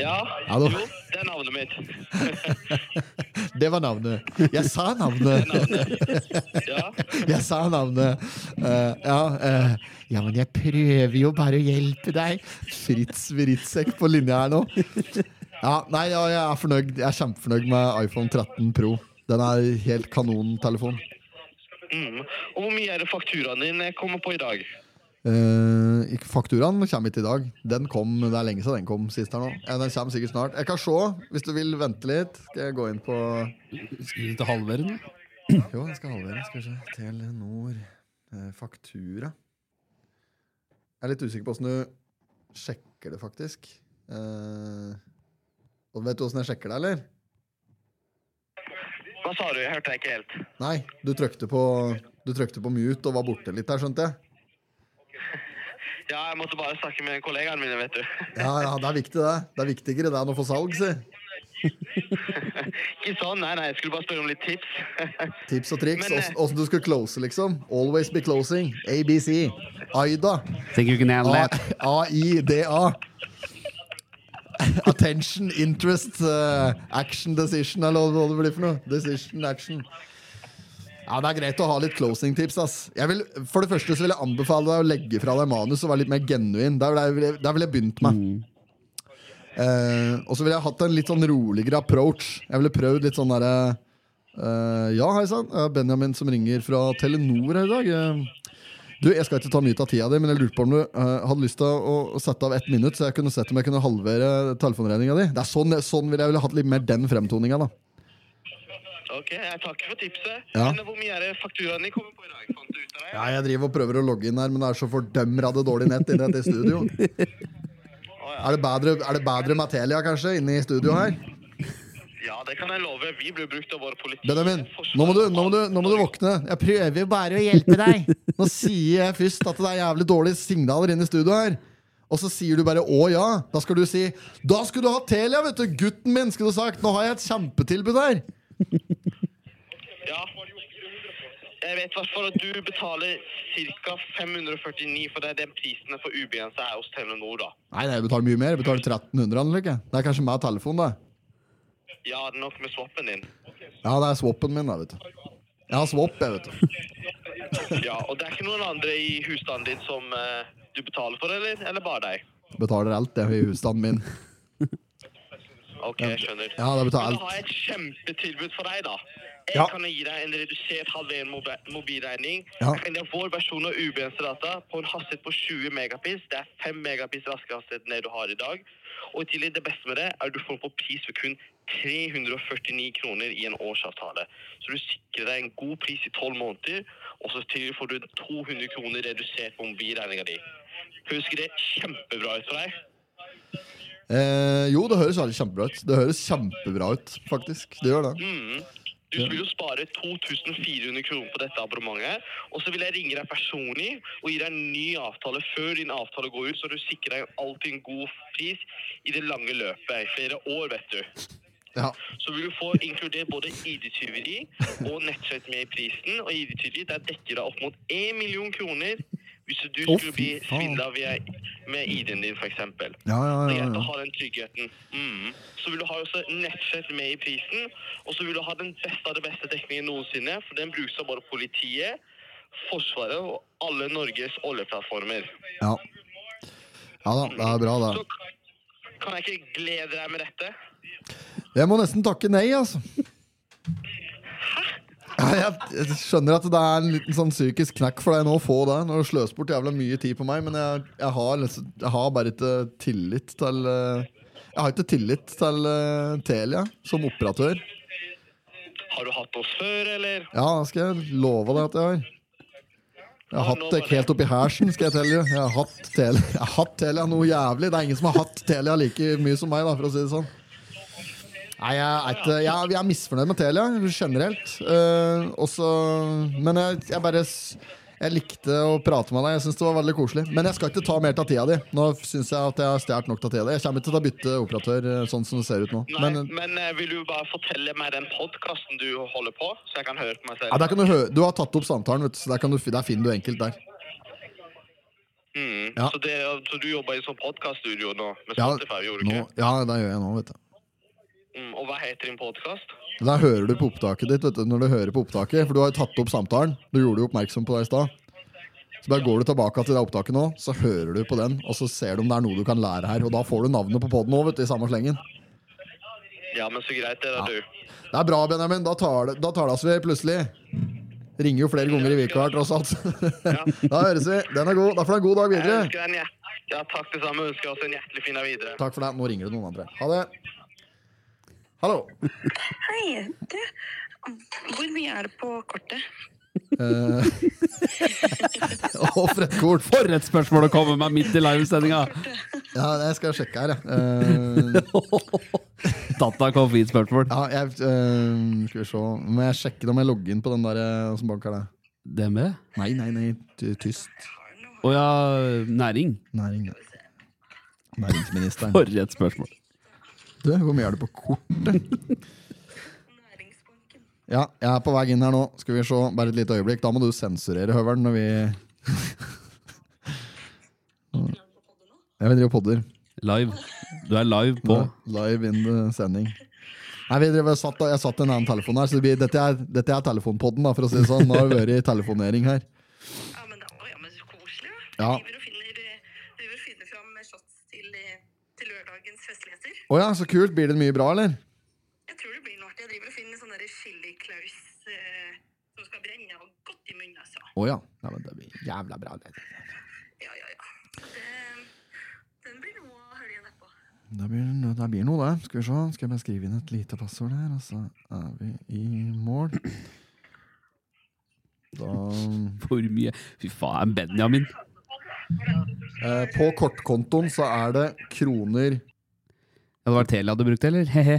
[SPEAKER 6] Ja.
[SPEAKER 1] da.
[SPEAKER 6] Jo, det er navnet mitt.
[SPEAKER 1] Det var navnet. Jeg sa navnet!
[SPEAKER 6] Ja.
[SPEAKER 1] Jeg sa navnet. Eh, ja, eh, ja, men jeg prøver jo bare å hjelpe deg. Fritz Vritzek på linja her nå. Ja, nei, ja, jeg er fornøyd. Jeg er kjempefornøyd med iPhone 13 Pro. Den er helt kanontelefon.
[SPEAKER 6] Mm. Og hvor mye er det fakturaen din kommer på i dag?
[SPEAKER 1] Eh, ikke fakturaen kommer ikke i dag. Den kom, Det er lenge siden den kom sist her nå. Eh, Den kommer sikkert snart. Jeg kan se, hvis du vil vente litt. Skal jeg gå inn på
[SPEAKER 2] Skal vi til halvere nå?
[SPEAKER 1] Jo, jeg skal halvere. Skal vi se. Telenor eh, Faktura. Jeg er litt usikker på åssen du sjekker det, faktisk. Eh, og vet du åssen jeg sjekker det, eller?
[SPEAKER 6] Hva sa du? Jeg hørte deg ikke helt.
[SPEAKER 1] Nei, du trykte på, du trykte på mute og var borte litt der, skjønte jeg.
[SPEAKER 6] Ja, jeg måtte bare snakke med kollegaene mine, vet du.
[SPEAKER 1] Ja, ja, det er viktig, det. Det er viktigere det enn å få salg, si.
[SPEAKER 6] Ikke sånn, nei, nei, jeg skulle bare spørre om litt tips.
[SPEAKER 1] Tips og triks.
[SPEAKER 6] Men, eh,
[SPEAKER 1] åssen- Åssen du skal close, liksom. Always be closing. ABC. Aida.
[SPEAKER 2] Think you can handle
[SPEAKER 1] A-
[SPEAKER 2] it?
[SPEAKER 1] AIDA. Attention, interest, eh, action, decision, eller hva det blir for noe. Decision, action. Ja, Det er greit å ha litt closing-tips. ass jeg vil, For det første så vil jeg anbefale deg å legge fra deg manus og være litt mer genuin. Der vil jeg, vil jeg- der vil jeg begynt med. Eh, og så ville jeg hatt en litt sånn roligere approach. Jeg ville prøvd litt sånn derre eh, Ja, hei sann, det er Benjamin som ringer fra Telenor her i dag. Eh, du, Jeg skal ikke ta mye av tida di, men jeg lurte på om du eh, hadde lyst til å, å sette av ett minutt, så jeg kunne sett om jeg kunne halvere telefonregninga di. Det er sånn, sånn ville jeg ville hatt litt mer den fremtoninga, da.
[SPEAKER 6] Ok, jeg takker for tipset.
[SPEAKER 1] Ja.
[SPEAKER 6] Men hvor mye er det fakturaen din kommer på i dag? Fant du ut av det?
[SPEAKER 1] Ja, jeg driver og prøver å logge inn her, men det er så fordømrende dårlig nett inne i dette studio. Er det, bedre, er det bedre med Telia, kanskje, inne i studio her?
[SPEAKER 6] Ja, det kan jeg love. Vi blir brukt av våre politi.
[SPEAKER 1] Benjamin, nå må, du, nå, må du, nå må du våkne. Jeg prøver jo bare å hjelpe deg. Nå sier jeg først at det er jævlig dårlige signaler inne i studio her. Og så sier du bare 'å ja'. Da skal du si 'da skulle du ha Telia', vet du. Gutten min, skulle du sagt. Nå har jeg et kjempetilbud her.
[SPEAKER 6] Ja. Jeg vet i hvert fall at du betaler ca. 549, for det er den prisen for ubegrenset er hos Telenor, da.
[SPEAKER 1] Nei, nei, jeg betaler mye mer. Jeg betaler 1300, eller ikke? Det er kanskje meg og telefon, da.
[SPEAKER 6] Ja, det er nok med swappen din.
[SPEAKER 1] Ja, det er swappen min, da, vet du. Jeg har swap, jeg, vet du.
[SPEAKER 6] Ja, og det er ikke noen andre i husstanden din som eh, du betaler for, eller? Eller bare deg?
[SPEAKER 1] Betaler alt, det, i husstanden min.
[SPEAKER 6] Ok, jeg skjønner.
[SPEAKER 1] Ja, det betaler alt.
[SPEAKER 6] Men Da har jeg et kjempetilbud for deg, da. Jeg
[SPEAKER 1] Ja.
[SPEAKER 6] kan gi deg en redusert halveren mobi- mobilregning.
[SPEAKER 1] Ja.
[SPEAKER 6] Jeg kan gi deg vår versjon av ubegrenset data på en hastighet på 20 megabits. Det er 5 megabits raskere hastighet enn det du har i dag. Og i tillegg, det beste med det er at du får på pris for kun 349 kroner i en årsavtale. Så du sikrer deg en god pris i 12 måneder, og så til får du 200 kroner redusert på mobilregninga di. Husker det kjempebra ut for deg?
[SPEAKER 1] Eh, jo, det høres veldig kjempebra ut. Det høres kjempebra ut, faktisk. Det gjør det.
[SPEAKER 6] Mm. Du vil jo spare 2400 kroner på dette abonnementet. Og så vil jeg ringe deg personlig og gi deg en ny avtale før din avtale går ut, så du sikrer deg alltid en god pris i det lange løpet. I flere år, vet du.
[SPEAKER 1] Ja.
[SPEAKER 6] Så vil du få inkludert både ID-tyveri og nettskjøt med i prisen. Og ID-tyveri der dekker deg opp mot 1 million kroner hvis du
[SPEAKER 1] Å, fy
[SPEAKER 6] skulle bli
[SPEAKER 1] faen.
[SPEAKER 6] svindla med ID-en din, f.eks.
[SPEAKER 1] Ja, ja,
[SPEAKER 6] Det er
[SPEAKER 1] ja,
[SPEAKER 6] greit å
[SPEAKER 1] ja.
[SPEAKER 6] ha den tryggheten. Mm. Så vil du ha også nettsett med i prisen. Og så vil du ha den beste av det beste dekningen noensinne, for den brukes av både politiet, Forsvaret og alle Norges oljeplattformer.
[SPEAKER 1] ja. ja da, det er bra, det.
[SPEAKER 6] Så k- kan jeg ikke glede deg med dette?
[SPEAKER 1] Jeg må nesten takke nei, altså. Ja, jeg jeg skjønner at det er en liten sånn psykisk knekk for deg nå å få det. Når du sløser bort jævla mye tid på meg, men jeg, jeg, har, liksom, jeg har bare ikke tillit til eh, Jeg har ikke tillit til eh, Telia som operatør.
[SPEAKER 6] Har du hatt oss før, eller?
[SPEAKER 1] Ja, det skal jeg love deg at jeg har. Jeg har hatt det ikke helt oppi hersen, skal jeg telle. Jeg har hatt Telia, jeg har hatt Telia noe jævlig. Det er ingen som har hatt Telia like mye som meg, da, for å si det sånn. Nei, jeg er, ikke, jeg, jeg er misfornøyd med Telia generelt. Eh, også, men jeg, jeg bare s- Jeg likte å prate med deg. Jeg synes det var veldig koselig Men jeg skal ikke ta mer av tida di. Nå syns jeg at jeg har stjålet nok av tida di. Jeg kommer ikke til å bytte operatør eh, sånn som det ser ut nå.
[SPEAKER 6] Nei,
[SPEAKER 1] Men,
[SPEAKER 6] men, eh, vil du bare fortelle meg den podkasten du holder på, så jeg kan høre på meg
[SPEAKER 1] ja,
[SPEAKER 6] selv?
[SPEAKER 1] der kan du, hø du har tatt opp samtalen, vet du, så der, kan du, fi- der finner du enkelt der.
[SPEAKER 6] Mm.
[SPEAKER 1] ja.
[SPEAKER 6] Så, det, så du jobber i sånn podkaststudio nå? Med
[SPEAKER 1] Ja,
[SPEAKER 6] Spotify, gjorde du
[SPEAKER 1] nå,
[SPEAKER 6] ikke?
[SPEAKER 1] ja, det gjør jeg nå, vet du.
[SPEAKER 6] Mm. Og hva heter din podkast?
[SPEAKER 1] Der hører du på opptaket ditt, vet du, når du hører på opptaket, for du har jo tatt opp samtalen. Du gjorde jo oppmerksom på det i stad. Så bare går du tilbake til det opptaket nå, så hører du på den, og så ser du om det er noe du kan lære her. Og da får du navnet på poden òg, vet du, i samme slengen.
[SPEAKER 6] Ja, men så greit det, da, du.
[SPEAKER 1] Det er bra, Benjamin. Da tar det- da tales vi plutselig. Ringer jo flere ganger i uka, tross alt. Da høres vi. Den er god. Da får du ha en god dag
[SPEAKER 6] Jeg
[SPEAKER 1] videre.
[SPEAKER 6] ønsker deg en hjert... Ja, takk det samme. Jeg ønsker også en hjertelig fin dag videre.
[SPEAKER 1] Takk for det. Nå ringer det noen andre. Ha det. Hallo.
[SPEAKER 7] Hei. Det, hvor mye er det på kortet?
[SPEAKER 1] Og Fred Kort.
[SPEAKER 2] For et spørsmål å komme med midt i livesendinga!
[SPEAKER 1] Ja, jeg skal sjekke her, jeg. Eh,
[SPEAKER 2] Data kom fint spørsmål.
[SPEAKER 1] ja, jeg eh, skal vi se. Må jeg sjekke om jeg logger inn på den der eh, som banker det?
[SPEAKER 2] Det med?
[SPEAKER 1] Nei, nei, nei. ty- Tyst.
[SPEAKER 2] Å ja, næring.
[SPEAKER 1] Næring. Næringsministeren.
[SPEAKER 2] For et spørsmål.
[SPEAKER 1] Du, hvor mye er det på kortet? Ja, jeg er på vei inn her nå. Skal vi se, bare et lite øyeblikk. Da må du sensurere høveren når vi Jeg vil drive podder.
[SPEAKER 2] Live. Du er live på
[SPEAKER 1] Live in the sending. Nei, vi driver, satt, jeg satt en annen telefon her, så det blir, dette, er, dette er telefonpodden, da, for å si det sånn. Nå har vi vært i telefonering her.
[SPEAKER 7] Ja, men, da, å, ja, men så koselig, da.
[SPEAKER 1] Ja.
[SPEAKER 7] Driver og finner, eh, driver og finner fram shots til, eh, til lørdagens festligheter.
[SPEAKER 1] Å ja, så kult. Blir det mye bra, eller?
[SPEAKER 7] Jeg tror det blir noe artig. Jeg driver og finner sånn derre chiliklaus eh, som skal brenne og godt i munnen, altså.
[SPEAKER 1] Å ja. Nei, men det blir jævla bra. Det,
[SPEAKER 7] Ja, ja, ja. Det, den blir noe å høre igjen etterpå.
[SPEAKER 1] Det blir, no- det blir noe, det. Skal vi se. Skal jeg bare skrive inn et lite passord her, og så er vi i mål. Da
[SPEAKER 2] For mye Fy faen, Benjamin.
[SPEAKER 1] eh, På kortkontoen så er det kroner
[SPEAKER 2] Ja, det var Telia du brukte, eller? He-he.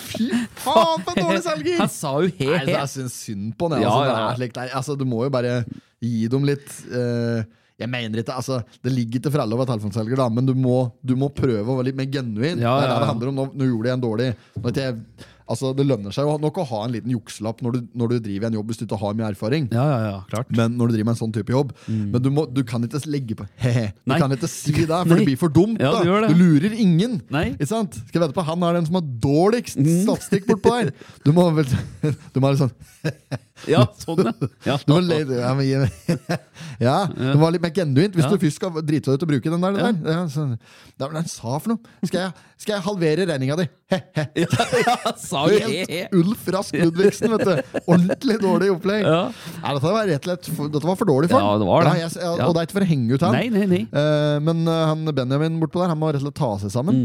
[SPEAKER 1] Fy faen, for en dårlig selger!
[SPEAKER 2] Han sa jo
[SPEAKER 1] Nei,
[SPEAKER 2] he-he.
[SPEAKER 1] det er synd- synd på den.
[SPEAKER 2] Ja,
[SPEAKER 1] altså,
[SPEAKER 2] ja,
[SPEAKER 1] Det
[SPEAKER 2] ja.
[SPEAKER 1] er slik, det er. altså, du må jo bare gi dem litt eh, Jeg mener ikke altså, Det ligger ikke for alle å være telefonselger, da, men du må, du må prøve å være litt mer genuin.
[SPEAKER 2] Ja,
[SPEAKER 1] det er det
[SPEAKER 2] ja,
[SPEAKER 1] det
[SPEAKER 2] ja.
[SPEAKER 1] handler om. Nå, nå gjorde jeg en dårlig nå vet jeg, altså, Det lønner seg jo nok å ha en liten jukselapp når du, når du driver en jobb hvis du ikke har mye erfaring.
[SPEAKER 2] Ja, ja, ja, klart.
[SPEAKER 1] Men når du driver med en sånn type jobb Men du, må, du kan ikke legge på hehe. Du
[SPEAKER 2] Mm. Nei.
[SPEAKER 1] kan ikke si det, for
[SPEAKER 2] Nei.
[SPEAKER 1] det blir for dumt.
[SPEAKER 2] Ja,
[SPEAKER 1] da.
[SPEAKER 2] du gjør det.
[SPEAKER 1] du lurer ingen.
[SPEAKER 2] Nei. Mm.
[SPEAKER 1] Ikke sant? Skal vi vente på Han er den som har dårligst statistikk bortpå der. Du må vel Du må ha litt sånn
[SPEAKER 2] Ja, sånn, ja. ja.
[SPEAKER 1] du må le, ja, men, gi- ja, det var litt mer genuint hvis
[SPEAKER 2] Ja.
[SPEAKER 1] du først skal drite deg ut og bruke den der. Den der. Ja, sånn. Det er hva han sa for noe. Skal jeg, skal jeg halvere regninga di? He-he.
[SPEAKER 2] Han sa jo he-he.
[SPEAKER 1] Helt Ulf Rask Ludvigsen, vet du. Ordentlig dårlig opplegg.
[SPEAKER 2] Ja.
[SPEAKER 1] Nei, dette var rett og slett for, dette var for dårlig for
[SPEAKER 2] Ja,
[SPEAKER 1] han.
[SPEAKER 2] det var det.
[SPEAKER 1] Nei, jeg, jeg,
[SPEAKER 2] Ja.
[SPEAKER 1] Og det er ikke for å henge ut han.
[SPEAKER 2] Nei, nei, nei.
[SPEAKER 1] Eh, men eh, han Benjamin bortpå der, han må rett og slett ta seg sammen.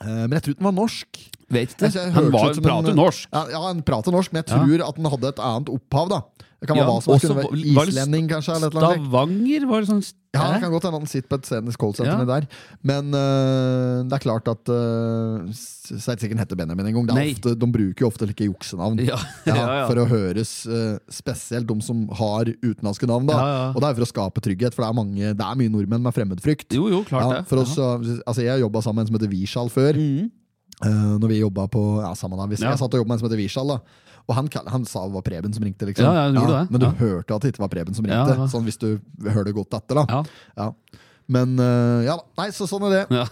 [SPEAKER 1] Eh, men jeg tror ikke han var norsk.
[SPEAKER 2] Vet
[SPEAKER 1] Jeg
[SPEAKER 2] du.
[SPEAKER 1] synes jeg
[SPEAKER 2] Mm. Han
[SPEAKER 1] hørtes
[SPEAKER 2] var,
[SPEAKER 1] ut som en- eh,
[SPEAKER 2] prater norsk.
[SPEAKER 1] Ja, ja, han prater norsk, men jeg tror at han hadde et annet opphav. da Det kan være
[SPEAKER 2] Ja,
[SPEAKER 1] hva som
[SPEAKER 2] også
[SPEAKER 1] kunne
[SPEAKER 2] var-
[SPEAKER 1] være
[SPEAKER 2] var det
[SPEAKER 1] Islending, kanskje. Eller et eller annet.
[SPEAKER 2] Stavanger var det sånn
[SPEAKER 1] Ja, det kan godt hende han sitter på et scenisk callsenter
[SPEAKER 2] Ja.
[SPEAKER 1] der. Men øh, det er klart at øh, s- så er det sikkert han heter Benjamin en gang. Det
[SPEAKER 2] Nei.
[SPEAKER 1] er ofte, de bruker jo ofte like juksenavn.
[SPEAKER 2] Ja,
[SPEAKER 1] Ja,
[SPEAKER 2] ja, ja.
[SPEAKER 1] For å høres øh, spesielt de som har utenlandske navn. Da.
[SPEAKER 2] Ja, ja.
[SPEAKER 1] Og det er for å skape trygghet, for det er, mange, det er mye nordmenn med fremmedfrykt.
[SPEAKER 2] Jo, jo,
[SPEAKER 1] Ja,
[SPEAKER 2] klart det. Mm.
[SPEAKER 1] for oss, øh, altså, jeg jobba sammen med en som heter Vishal før. øh, når vi jobba på ja, sammen da. Hvis
[SPEAKER 2] Ja.
[SPEAKER 1] Jeg satt og jobbet med en som heter Vishal. Da. Og han, kall- han sa det var Preben som ringte. Liksom.
[SPEAKER 2] Ja, ja, han gjorde det.
[SPEAKER 1] Men du
[SPEAKER 2] Ja.
[SPEAKER 1] hørte at det ikke var Preben som
[SPEAKER 2] Ja,
[SPEAKER 1] ringte.
[SPEAKER 2] ja.
[SPEAKER 1] Sånn hvis du hører det godt etter. da
[SPEAKER 2] Ja.
[SPEAKER 1] ja. Men eh, ja, da. nei, så sånn er det.
[SPEAKER 2] Ja.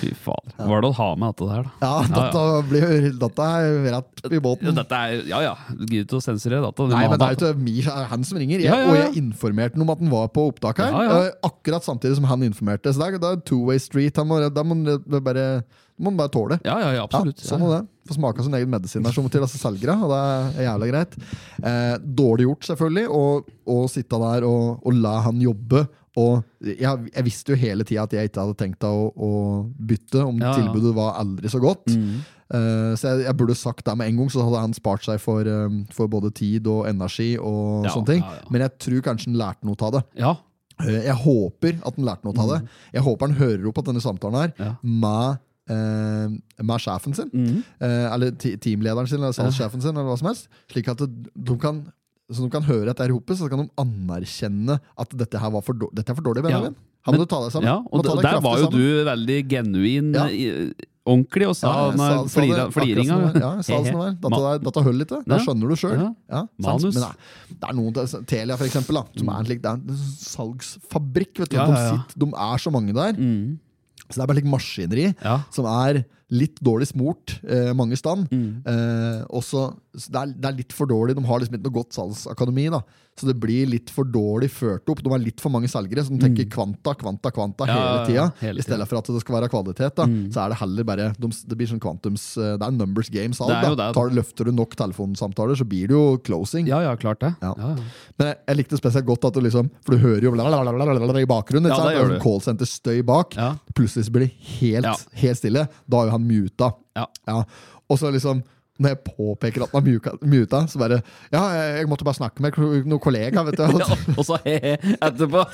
[SPEAKER 2] Fy faen. Hva er det å ha med dette der, da?
[SPEAKER 1] Ja, data, Blir, data er rett i
[SPEAKER 2] Ja,
[SPEAKER 1] båten.
[SPEAKER 2] dette er, ja ja, du gidder ikke å sensurere data. Du
[SPEAKER 1] Nei,
[SPEAKER 2] må
[SPEAKER 1] men det
[SPEAKER 2] ha
[SPEAKER 1] er jo ikke mi- det er han som ringer, jeg,
[SPEAKER 2] Ja, ja,
[SPEAKER 1] og
[SPEAKER 2] ja.
[SPEAKER 1] jeg informerte han om at han var på opptak her.
[SPEAKER 2] Ja, ja.
[SPEAKER 1] eh, Akkurat samtidig som han informerte. Så det er, det er two-way street. Han må, da må han bare, må han bare tåle.
[SPEAKER 2] Ja, ja, ja, absolutt.
[SPEAKER 1] Ja, sånn er det. Får smake av sin egen medisin der, som til altså selgere, og det er jævla greit. Eh, dårlig gjort, selvfølgelig, å- å sitte der og, og la han jobbe. Og jeg, jeg visste jo hele tida at jeg ikke hadde tenkt å, å bytte, om
[SPEAKER 2] Ja, Mm. ja.
[SPEAKER 1] tilbudet var aldri så godt. Eh, så jeg, jeg burde sagt det med en gang, så hadde han spart seg for, eh, for både tid og energi. og
[SPEAKER 2] Ja,
[SPEAKER 1] sånne ting.
[SPEAKER 2] ja, ja.
[SPEAKER 1] Men jeg tror kanskje han lærte noe av det.
[SPEAKER 2] Ja,
[SPEAKER 1] Eh, Jeg håper at han lærte noe av det. Jeg håper han hører opp at denne samtalen her
[SPEAKER 2] Mm. Ja. Mm.
[SPEAKER 1] med, eh, med sjefen sin, eh, eller ti- teamlederen sin, eller salgssjefen sin, eller hva som helst, slik at det- de kan så de kan høre dette her ihop, så kan de anerkjenne at dette her var for dårlig. Dette er for dårlig, Benjamin. Her må
[SPEAKER 2] Men-
[SPEAKER 1] du ta deg sammen.
[SPEAKER 2] ja
[SPEAKER 1] Du Sånn, må
[SPEAKER 2] og
[SPEAKER 1] ta
[SPEAKER 2] d-
[SPEAKER 1] deg
[SPEAKER 2] der
[SPEAKER 1] kraftig
[SPEAKER 2] var jo
[SPEAKER 1] sammen.
[SPEAKER 2] du veldig genuin,
[SPEAKER 1] Ja.
[SPEAKER 2] i- ordentlig, og sa
[SPEAKER 1] Ja, jeg
[SPEAKER 2] ja,
[SPEAKER 1] sa- sa det akkurat
[SPEAKER 2] fliringa.
[SPEAKER 1] som det var. Ja, jeg sa det som det var. Dette,
[SPEAKER 2] Ma-
[SPEAKER 1] der- dette holder ikke. Det
[SPEAKER 2] Ja.
[SPEAKER 1] skjønner du sjøl.
[SPEAKER 2] Ja.
[SPEAKER 1] Ja. sant.
[SPEAKER 2] Manus.
[SPEAKER 1] Men det, er- det er noen til- Telia, for eksempel, da, som er en, slik, det er en salgsfabrikk. Vet du.
[SPEAKER 2] Ja, ja, ja.
[SPEAKER 1] De, sitter, de er så mange der. Så det er bare like maskineri
[SPEAKER 2] Ja.
[SPEAKER 1] som er Litt dårlig smurt eh, mange stand.
[SPEAKER 2] Mm.
[SPEAKER 1] Eh, også, så det, er, det er litt for dårlig. De har liksom ikke noe godt salgsakademi. da Så det blir litt for dårlig ført opp. De er litt for mange selgere som tenker kvanta, kvanta, kvanta
[SPEAKER 2] Mm. Ja,
[SPEAKER 1] hele
[SPEAKER 2] ja,
[SPEAKER 1] tida.
[SPEAKER 2] hele
[SPEAKER 1] I stedet for at det skal være kvalitet. da
[SPEAKER 2] Mm.
[SPEAKER 1] Så er det heller bare de, Det blir sånn kvantums eh, Det er numbers games.
[SPEAKER 2] Det er jo
[SPEAKER 1] Alt, da.
[SPEAKER 2] det.
[SPEAKER 1] Tar, løfter du nok telefonsamtaler, så blir det jo closing.
[SPEAKER 2] Ja, ja, klart det.
[SPEAKER 1] Ja.
[SPEAKER 2] Ja, ja.
[SPEAKER 1] Men jeg, jeg likte spesielt godt at du liksom For du hører jo blablabla i bakgrunnen.
[SPEAKER 2] Ja,
[SPEAKER 1] Ja, det
[SPEAKER 2] det gjør
[SPEAKER 1] sånn
[SPEAKER 2] du.
[SPEAKER 1] Callsenter-støy bak.
[SPEAKER 2] Ja.
[SPEAKER 1] Plutselig så blir det helt,
[SPEAKER 2] Ja.
[SPEAKER 1] helt stille. Da er jo han muta.
[SPEAKER 2] Ja.
[SPEAKER 1] Og så liksom når jeg påpeker at han er muka- muta, så bare Ja, jeg, jeg måtte bare snakke med ko- noen kollegaer, vet du.
[SPEAKER 2] Ja, og så he-he etterpå.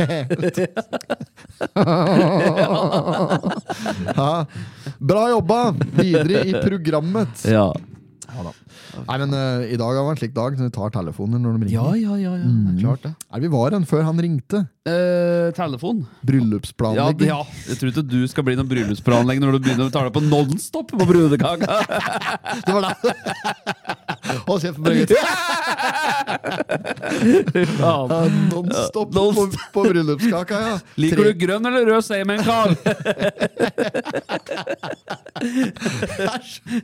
[SPEAKER 1] Ja. Bra jobba! Videre i programmet.
[SPEAKER 2] Ja.
[SPEAKER 1] Nei, men eh, i dag har vært en slik dag, så vi tar telefoner når de
[SPEAKER 2] ja,
[SPEAKER 1] ringer.
[SPEAKER 2] ja, ja. ja.
[SPEAKER 1] Mm.
[SPEAKER 2] Det er klart det.
[SPEAKER 1] Nei, vi var en før han ringte.
[SPEAKER 2] Eh, telefon. Ja, det-
[SPEAKER 1] Bryllupsplanlegging.
[SPEAKER 2] ja. Jeg tror ikke du skal bli noen bryllupsplanlegger når du begynner å ta deg på Nonstop på brudekaka.
[SPEAKER 1] Det var det. Hold kjeft, Birgit.
[SPEAKER 2] Ja.
[SPEAKER 1] Ja, Nonstop på, på bryllupskaka, ja.
[SPEAKER 2] Liker
[SPEAKER 1] Tre-
[SPEAKER 2] du grønn eller rød semen, Carl?
[SPEAKER 1] Jeg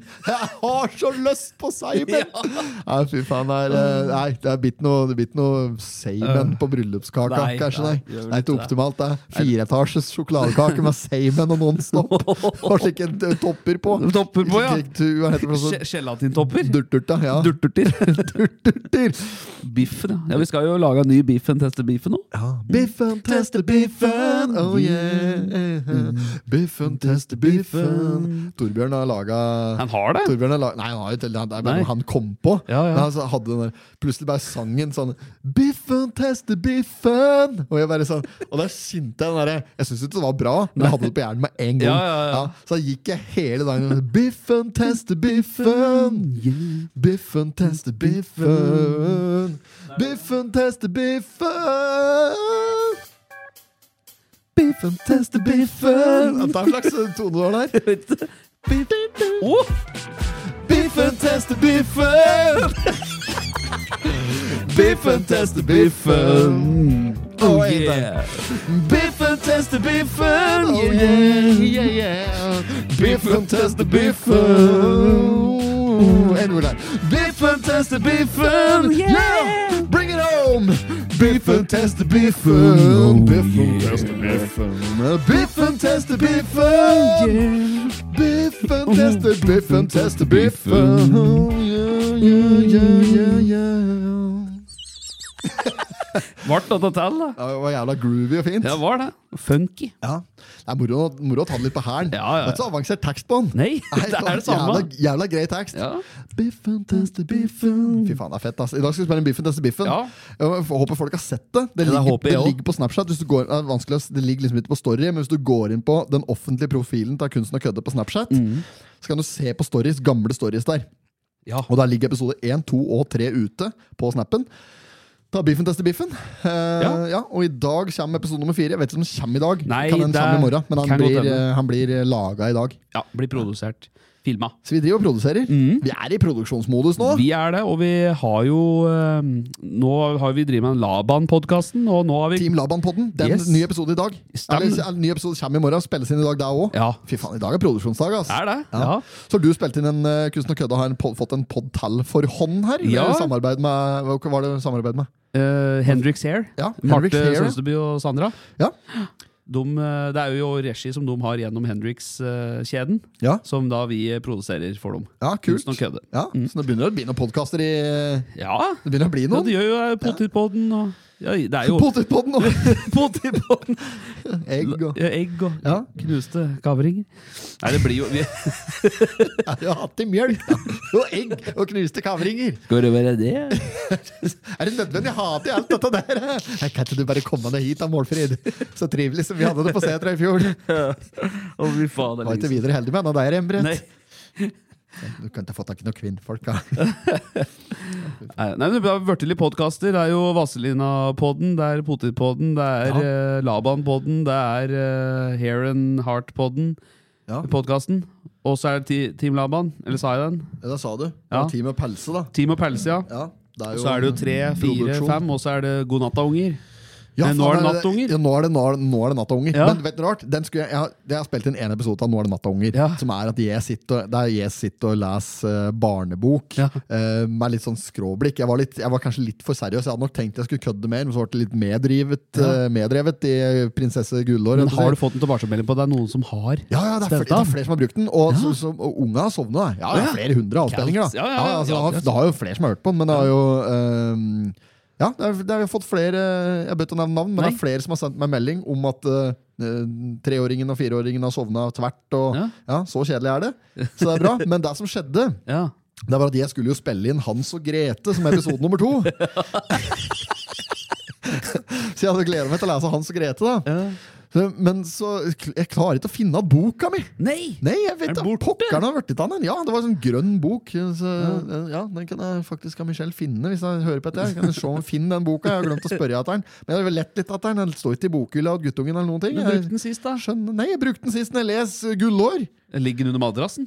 [SPEAKER 1] har så lyst på seimen! Nei, fy faen. det er, eh, Nei, det er bitt noe, det er bitt noe seimen på bryllupskaka.
[SPEAKER 2] Eh, Nei,
[SPEAKER 1] kanskje
[SPEAKER 2] nei,
[SPEAKER 1] nei.
[SPEAKER 2] gjør
[SPEAKER 1] Det er ikke
[SPEAKER 2] ikke det.
[SPEAKER 1] optimalt. Det er fireetasjes sjokoladekake med seimen og Nonstop. Og slike eh, topper på.
[SPEAKER 2] Topper på, ja.
[SPEAKER 1] Ikke- du, Hva heter det for noe sånn?
[SPEAKER 2] Ge-
[SPEAKER 1] sånt?
[SPEAKER 2] Gelatintopper?
[SPEAKER 1] Durtdurta. Ja.
[SPEAKER 2] Durterter.
[SPEAKER 1] Durtdurter.
[SPEAKER 2] Biffen, ja. ja. Vi skal jo lage en ny biffen, teste biffen nå.
[SPEAKER 1] Biffen tester biffen, oh yeah.
[SPEAKER 2] Mm.
[SPEAKER 1] Biffen tester biffen. Torbjørn har laga
[SPEAKER 2] Han har det.
[SPEAKER 1] Torbjørn har lag- Nei, han har jo ikke det. Det er bare
[SPEAKER 2] Nei.
[SPEAKER 1] noe han kom på.
[SPEAKER 2] Ja, ja.
[SPEAKER 1] Men han så hadde den der, plutselig bare sangen sånn Biffen tester biffen! Og jeg bare sånn Og da kjente jeg den derre Jeg syns ikke det var bra, men jeg hadde det på hjernen med en gang.
[SPEAKER 2] Ja, ja, ja.
[SPEAKER 1] så da gikk jeg hele dagen og Biffen tester biffen! Biffen tester biffen! Biffen tester biffen! Biffen tester biffen! Det er en slags tone du har der.
[SPEAKER 2] Å!
[SPEAKER 1] Biffen tester biffen! Biffen tester biffen.
[SPEAKER 2] Oh,
[SPEAKER 1] Oi,
[SPEAKER 2] yeah.
[SPEAKER 1] Biffen tester biffen! Oh yeah, yeah, yeah. Biffen tester biffen. En gang til. Biffen tester biffen! Oh, Yeah! Bring it home! Biffen tester biffen. Biffen tester biffen. Biffen tester Oh, biffen! Biffen tester biffen, tester biffen. Oh, Yeah, yeah, yeah, yeah, yeah.
[SPEAKER 2] Vart dette til, da?
[SPEAKER 1] Ja, Det var jævla groovy og fint.
[SPEAKER 2] Ja, var det. Funky.
[SPEAKER 1] Ja. Det er moro, moro å ta det litt på hælen.
[SPEAKER 2] Ja,
[SPEAKER 1] Det
[SPEAKER 2] ja, ja.
[SPEAKER 1] er ikke så avansert tekst på den.
[SPEAKER 2] Nei, det er det samme.
[SPEAKER 1] Jævla, jævla grei tekst.
[SPEAKER 2] Ja.
[SPEAKER 1] Biffen tester biffen Fy faen, det er fett. ass I dag skal vi spille en Biffen tester biffen.
[SPEAKER 2] Ja.
[SPEAKER 1] Jeg håper folk har sett det. Det
[SPEAKER 2] Ja, det
[SPEAKER 1] ligger,
[SPEAKER 2] håper jeg
[SPEAKER 1] det
[SPEAKER 2] også.
[SPEAKER 1] ligger på Snapchat. Hvis du går, det, er vanskelig å s- det ligger liksom ikke på story, men hvis du går inn på den offentlige profilen til Kunsten å kødde på Snapchat,
[SPEAKER 2] Mm.
[SPEAKER 1] så kan du se på stories, gamle stories der.
[SPEAKER 2] Ja.
[SPEAKER 1] Og der ligger episode 1, 2 og 3 ute på snappen. Ta biffen tester biffen. Eh, ja. og i dag kommer episode nummer fire. Jeg vet ikke om den kommer i dag.
[SPEAKER 2] Nei,
[SPEAKER 1] kan den
[SPEAKER 2] det
[SPEAKER 1] komme i morgen, Men han
[SPEAKER 2] kan godt
[SPEAKER 1] blir,
[SPEAKER 2] hende.
[SPEAKER 1] eh, han blir laga i dag.
[SPEAKER 2] ja. Blir produsert. Filma.
[SPEAKER 1] Så vi driver og produserer. Vi er i produksjonsmodus nå.
[SPEAKER 2] Mm. Vi er det, og vi har jo eh, Nå har vi drevet med den Laban-podkasten, og nå har vi
[SPEAKER 1] Team Laban-podden. Den
[SPEAKER 2] Yes.
[SPEAKER 1] nye episode i dag.
[SPEAKER 2] Stemmer.
[SPEAKER 1] Eller, eller, ny episode kommer i morgen. Spilles inn i dag, der òg.
[SPEAKER 2] Ja.
[SPEAKER 1] Fy faen, i dag er produksjonsdag, ass.
[SPEAKER 2] Er det?
[SPEAKER 1] Ja.
[SPEAKER 2] Ja.
[SPEAKER 1] Så har du spilt inn en eh, Kunsten og kødda har en pod, fått en pod til for hånd her?
[SPEAKER 2] Ja.
[SPEAKER 1] Eller Samarbeid med, hva var det samarbeid med?
[SPEAKER 2] eh, Hendrix Hair.
[SPEAKER 1] Ja, Henrik
[SPEAKER 2] Marte
[SPEAKER 1] Fair.
[SPEAKER 2] Sønsteby og Sandra.
[SPEAKER 1] Ja.
[SPEAKER 2] De, eh, det er jo regi som de har gjennom eh, Hendrix-kjeden,
[SPEAKER 1] Ja.
[SPEAKER 2] som da vi produserer for dem.
[SPEAKER 1] ja, kult.
[SPEAKER 2] Kunsten og kødde.
[SPEAKER 1] Ja, Så nå begynner det å bli noen podkaster i
[SPEAKER 2] Ja,
[SPEAKER 1] Det begynner å bli
[SPEAKER 2] ja,
[SPEAKER 1] noen.
[SPEAKER 2] de gjør jo eh, Potetpodden og ja, Det er jo
[SPEAKER 1] Potetpodden og
[SPEAKER 2] Potetpodden!
[SPEAKER 1] egg og
[SPEAKER 2] Ja, egg og
[SPEAKER 1] Ja.
[SPEAKER 2] knuste kavringer. Nei, det blir jo vi,
[SPEAKER 1] Ja, hatt i mjølk og egg og knuste kavringer.
[SPEAKER 2] Skal det være det?
[SPEAKER 1] Er det nødvendig? Jeg hater alt dette der. Jeg kan ikke du bare komme deg hit, da, Målfrid? Så trivelig som vi hadde det på setra i fjor.
[SPEAKER 2] Å, fy faen.
[SPEAKER 1] Var
[SPEAKER 2] Det
[SPEAKER 1] ikke
[SPEAKER 2] er liksom.
[SPEAKER 1] videre heldig med en av deg,
[SPEAKER 2] Nei,
[SPEAKER 1] Rembrandt. Du kan ikke få tak i noen kvinnfolk. da.
[SPEAKER 2] nei, nei, men det er vørtelige podkaster. Det er jo Vazelina-podden, det er Potetpodden, det er eh, Laban-podden, det er eh, Hair and Heart-podden.
[SPEAKER 1] Ja.
[SPEAKER 2] Podkasten. Og så er det Ti- Team Laban. Eller sa jeg den?
[SPEAKER 1] Ja, Da sa du. Det
[SPEAKER 2] Ja.
[SPEAKER 1] var Tid med pelse, da.
[SPEAKER 2] Team og Pelse, ja.
[SPEAKER 1] Ja, det
[SPEAKER 2] Og så er det jo tre, fire,
[SPEAKER 1] produksjon.
[SPEAKER 2] fem, og så er det God natta, unger. Nei, nå
[SPEAKER 1] faen,
[SPEAKER 2] er det Nattunger.
[SPEAKER 1] Ja, nå er det, nå er det, nå er det Nattunger.
[SPEAKER 2] Ja.
[SPEAKER 1] Men vet du rart? Den skulle jeg, jeg, har, jeg har spilt inn en episode av Nå er det Nattunger,
[SPEAKER 2] Ja.
[SPEAKER 1] som er at jeg sitter, og- der jeg sitter og leser eh, barnebok
[SPEAKER 2] Ja.
[SPEAKER 1] eh, med litt sånn skråblikk. Jeg var, litt, jeg var kanskje litt for seriøs. Jeg hadde nok tenkt jeg skulle kødde mer, men så ble det litt meddrivet, eh, medrevet i Prinsesse Gullår.
[SPEAKER 2] Men har du fått en tilbakemelding på at det er noen som har
[SPEAKER 1] Ja, ja, det er, flere, det
[SPEAKER 2] Stedet.
[SPEAKER 1] er flere som har brukt den. Og, så, så, og unga har sovna. Ja, det er flere hundre avspillinger.
[SPEAKER 2] Kalt.
[SPEAKER 1] da.
[SPEAKER 2] Ja, ja, ja.
[SPEAKER 1] altså, det,
[SPEAKER 2] Ja,
[SPEAKER 1] har,
[SPEAKER 2] det er
[SPEAKER 1] det har jo flere som har hørt på den, men det har jo ehm, Ja, det er, det har jo fått flere eh, Jeg bør ikke nevne navn, men det er
[SPEAKER 2] Nei.
[SPEAKER 1] flere som har sendt meg melding om at eh, eh, treåringen og fireåringen har sovna tvert. Og,
[SPEAKER 2] Ja.
[SPEAKER 1] ja. Så kjedelig er det. Så det er bra. Men det som skjedde,
[SPEAKER 2] Ja.
[SPEAKER 1] det var at jeg skulle jo spille inn Hans og Grete som episode nummer to. Så jeg hadde gleda meg til å lese Hans og Grete. da Så- Men så jeg klarer ikke å finne igjen boka mi!
[SPEAKER 2] Nei!
[SPEAKER 1] Nei, jeg vet
[SPEAKER 2] Er den
[SPEAKER 1] da,
[SPEAKER 2] borte?
[SPEAKER 1] pokkeren har vært i den. Ja, det var en sånn grønn bok. Så, ja. Den kan jeg faktisk av Michelle finne hvis jeg hører på dette. her. Kan jeg se om jeg finner den boka? Jeg har glemt å spørre etter den. Men jeg har lett litt etter den. Den står ikke i bokhylla og guttungen eller noen ting.
[SPEAKER 2] Du brukte den sist, da.
[SPEAKER 1] Jeg skjønner. Nei, jeg brukte den sist når jeg leser Gullår.
[SPEAKER 2] Ligger den under madrassen?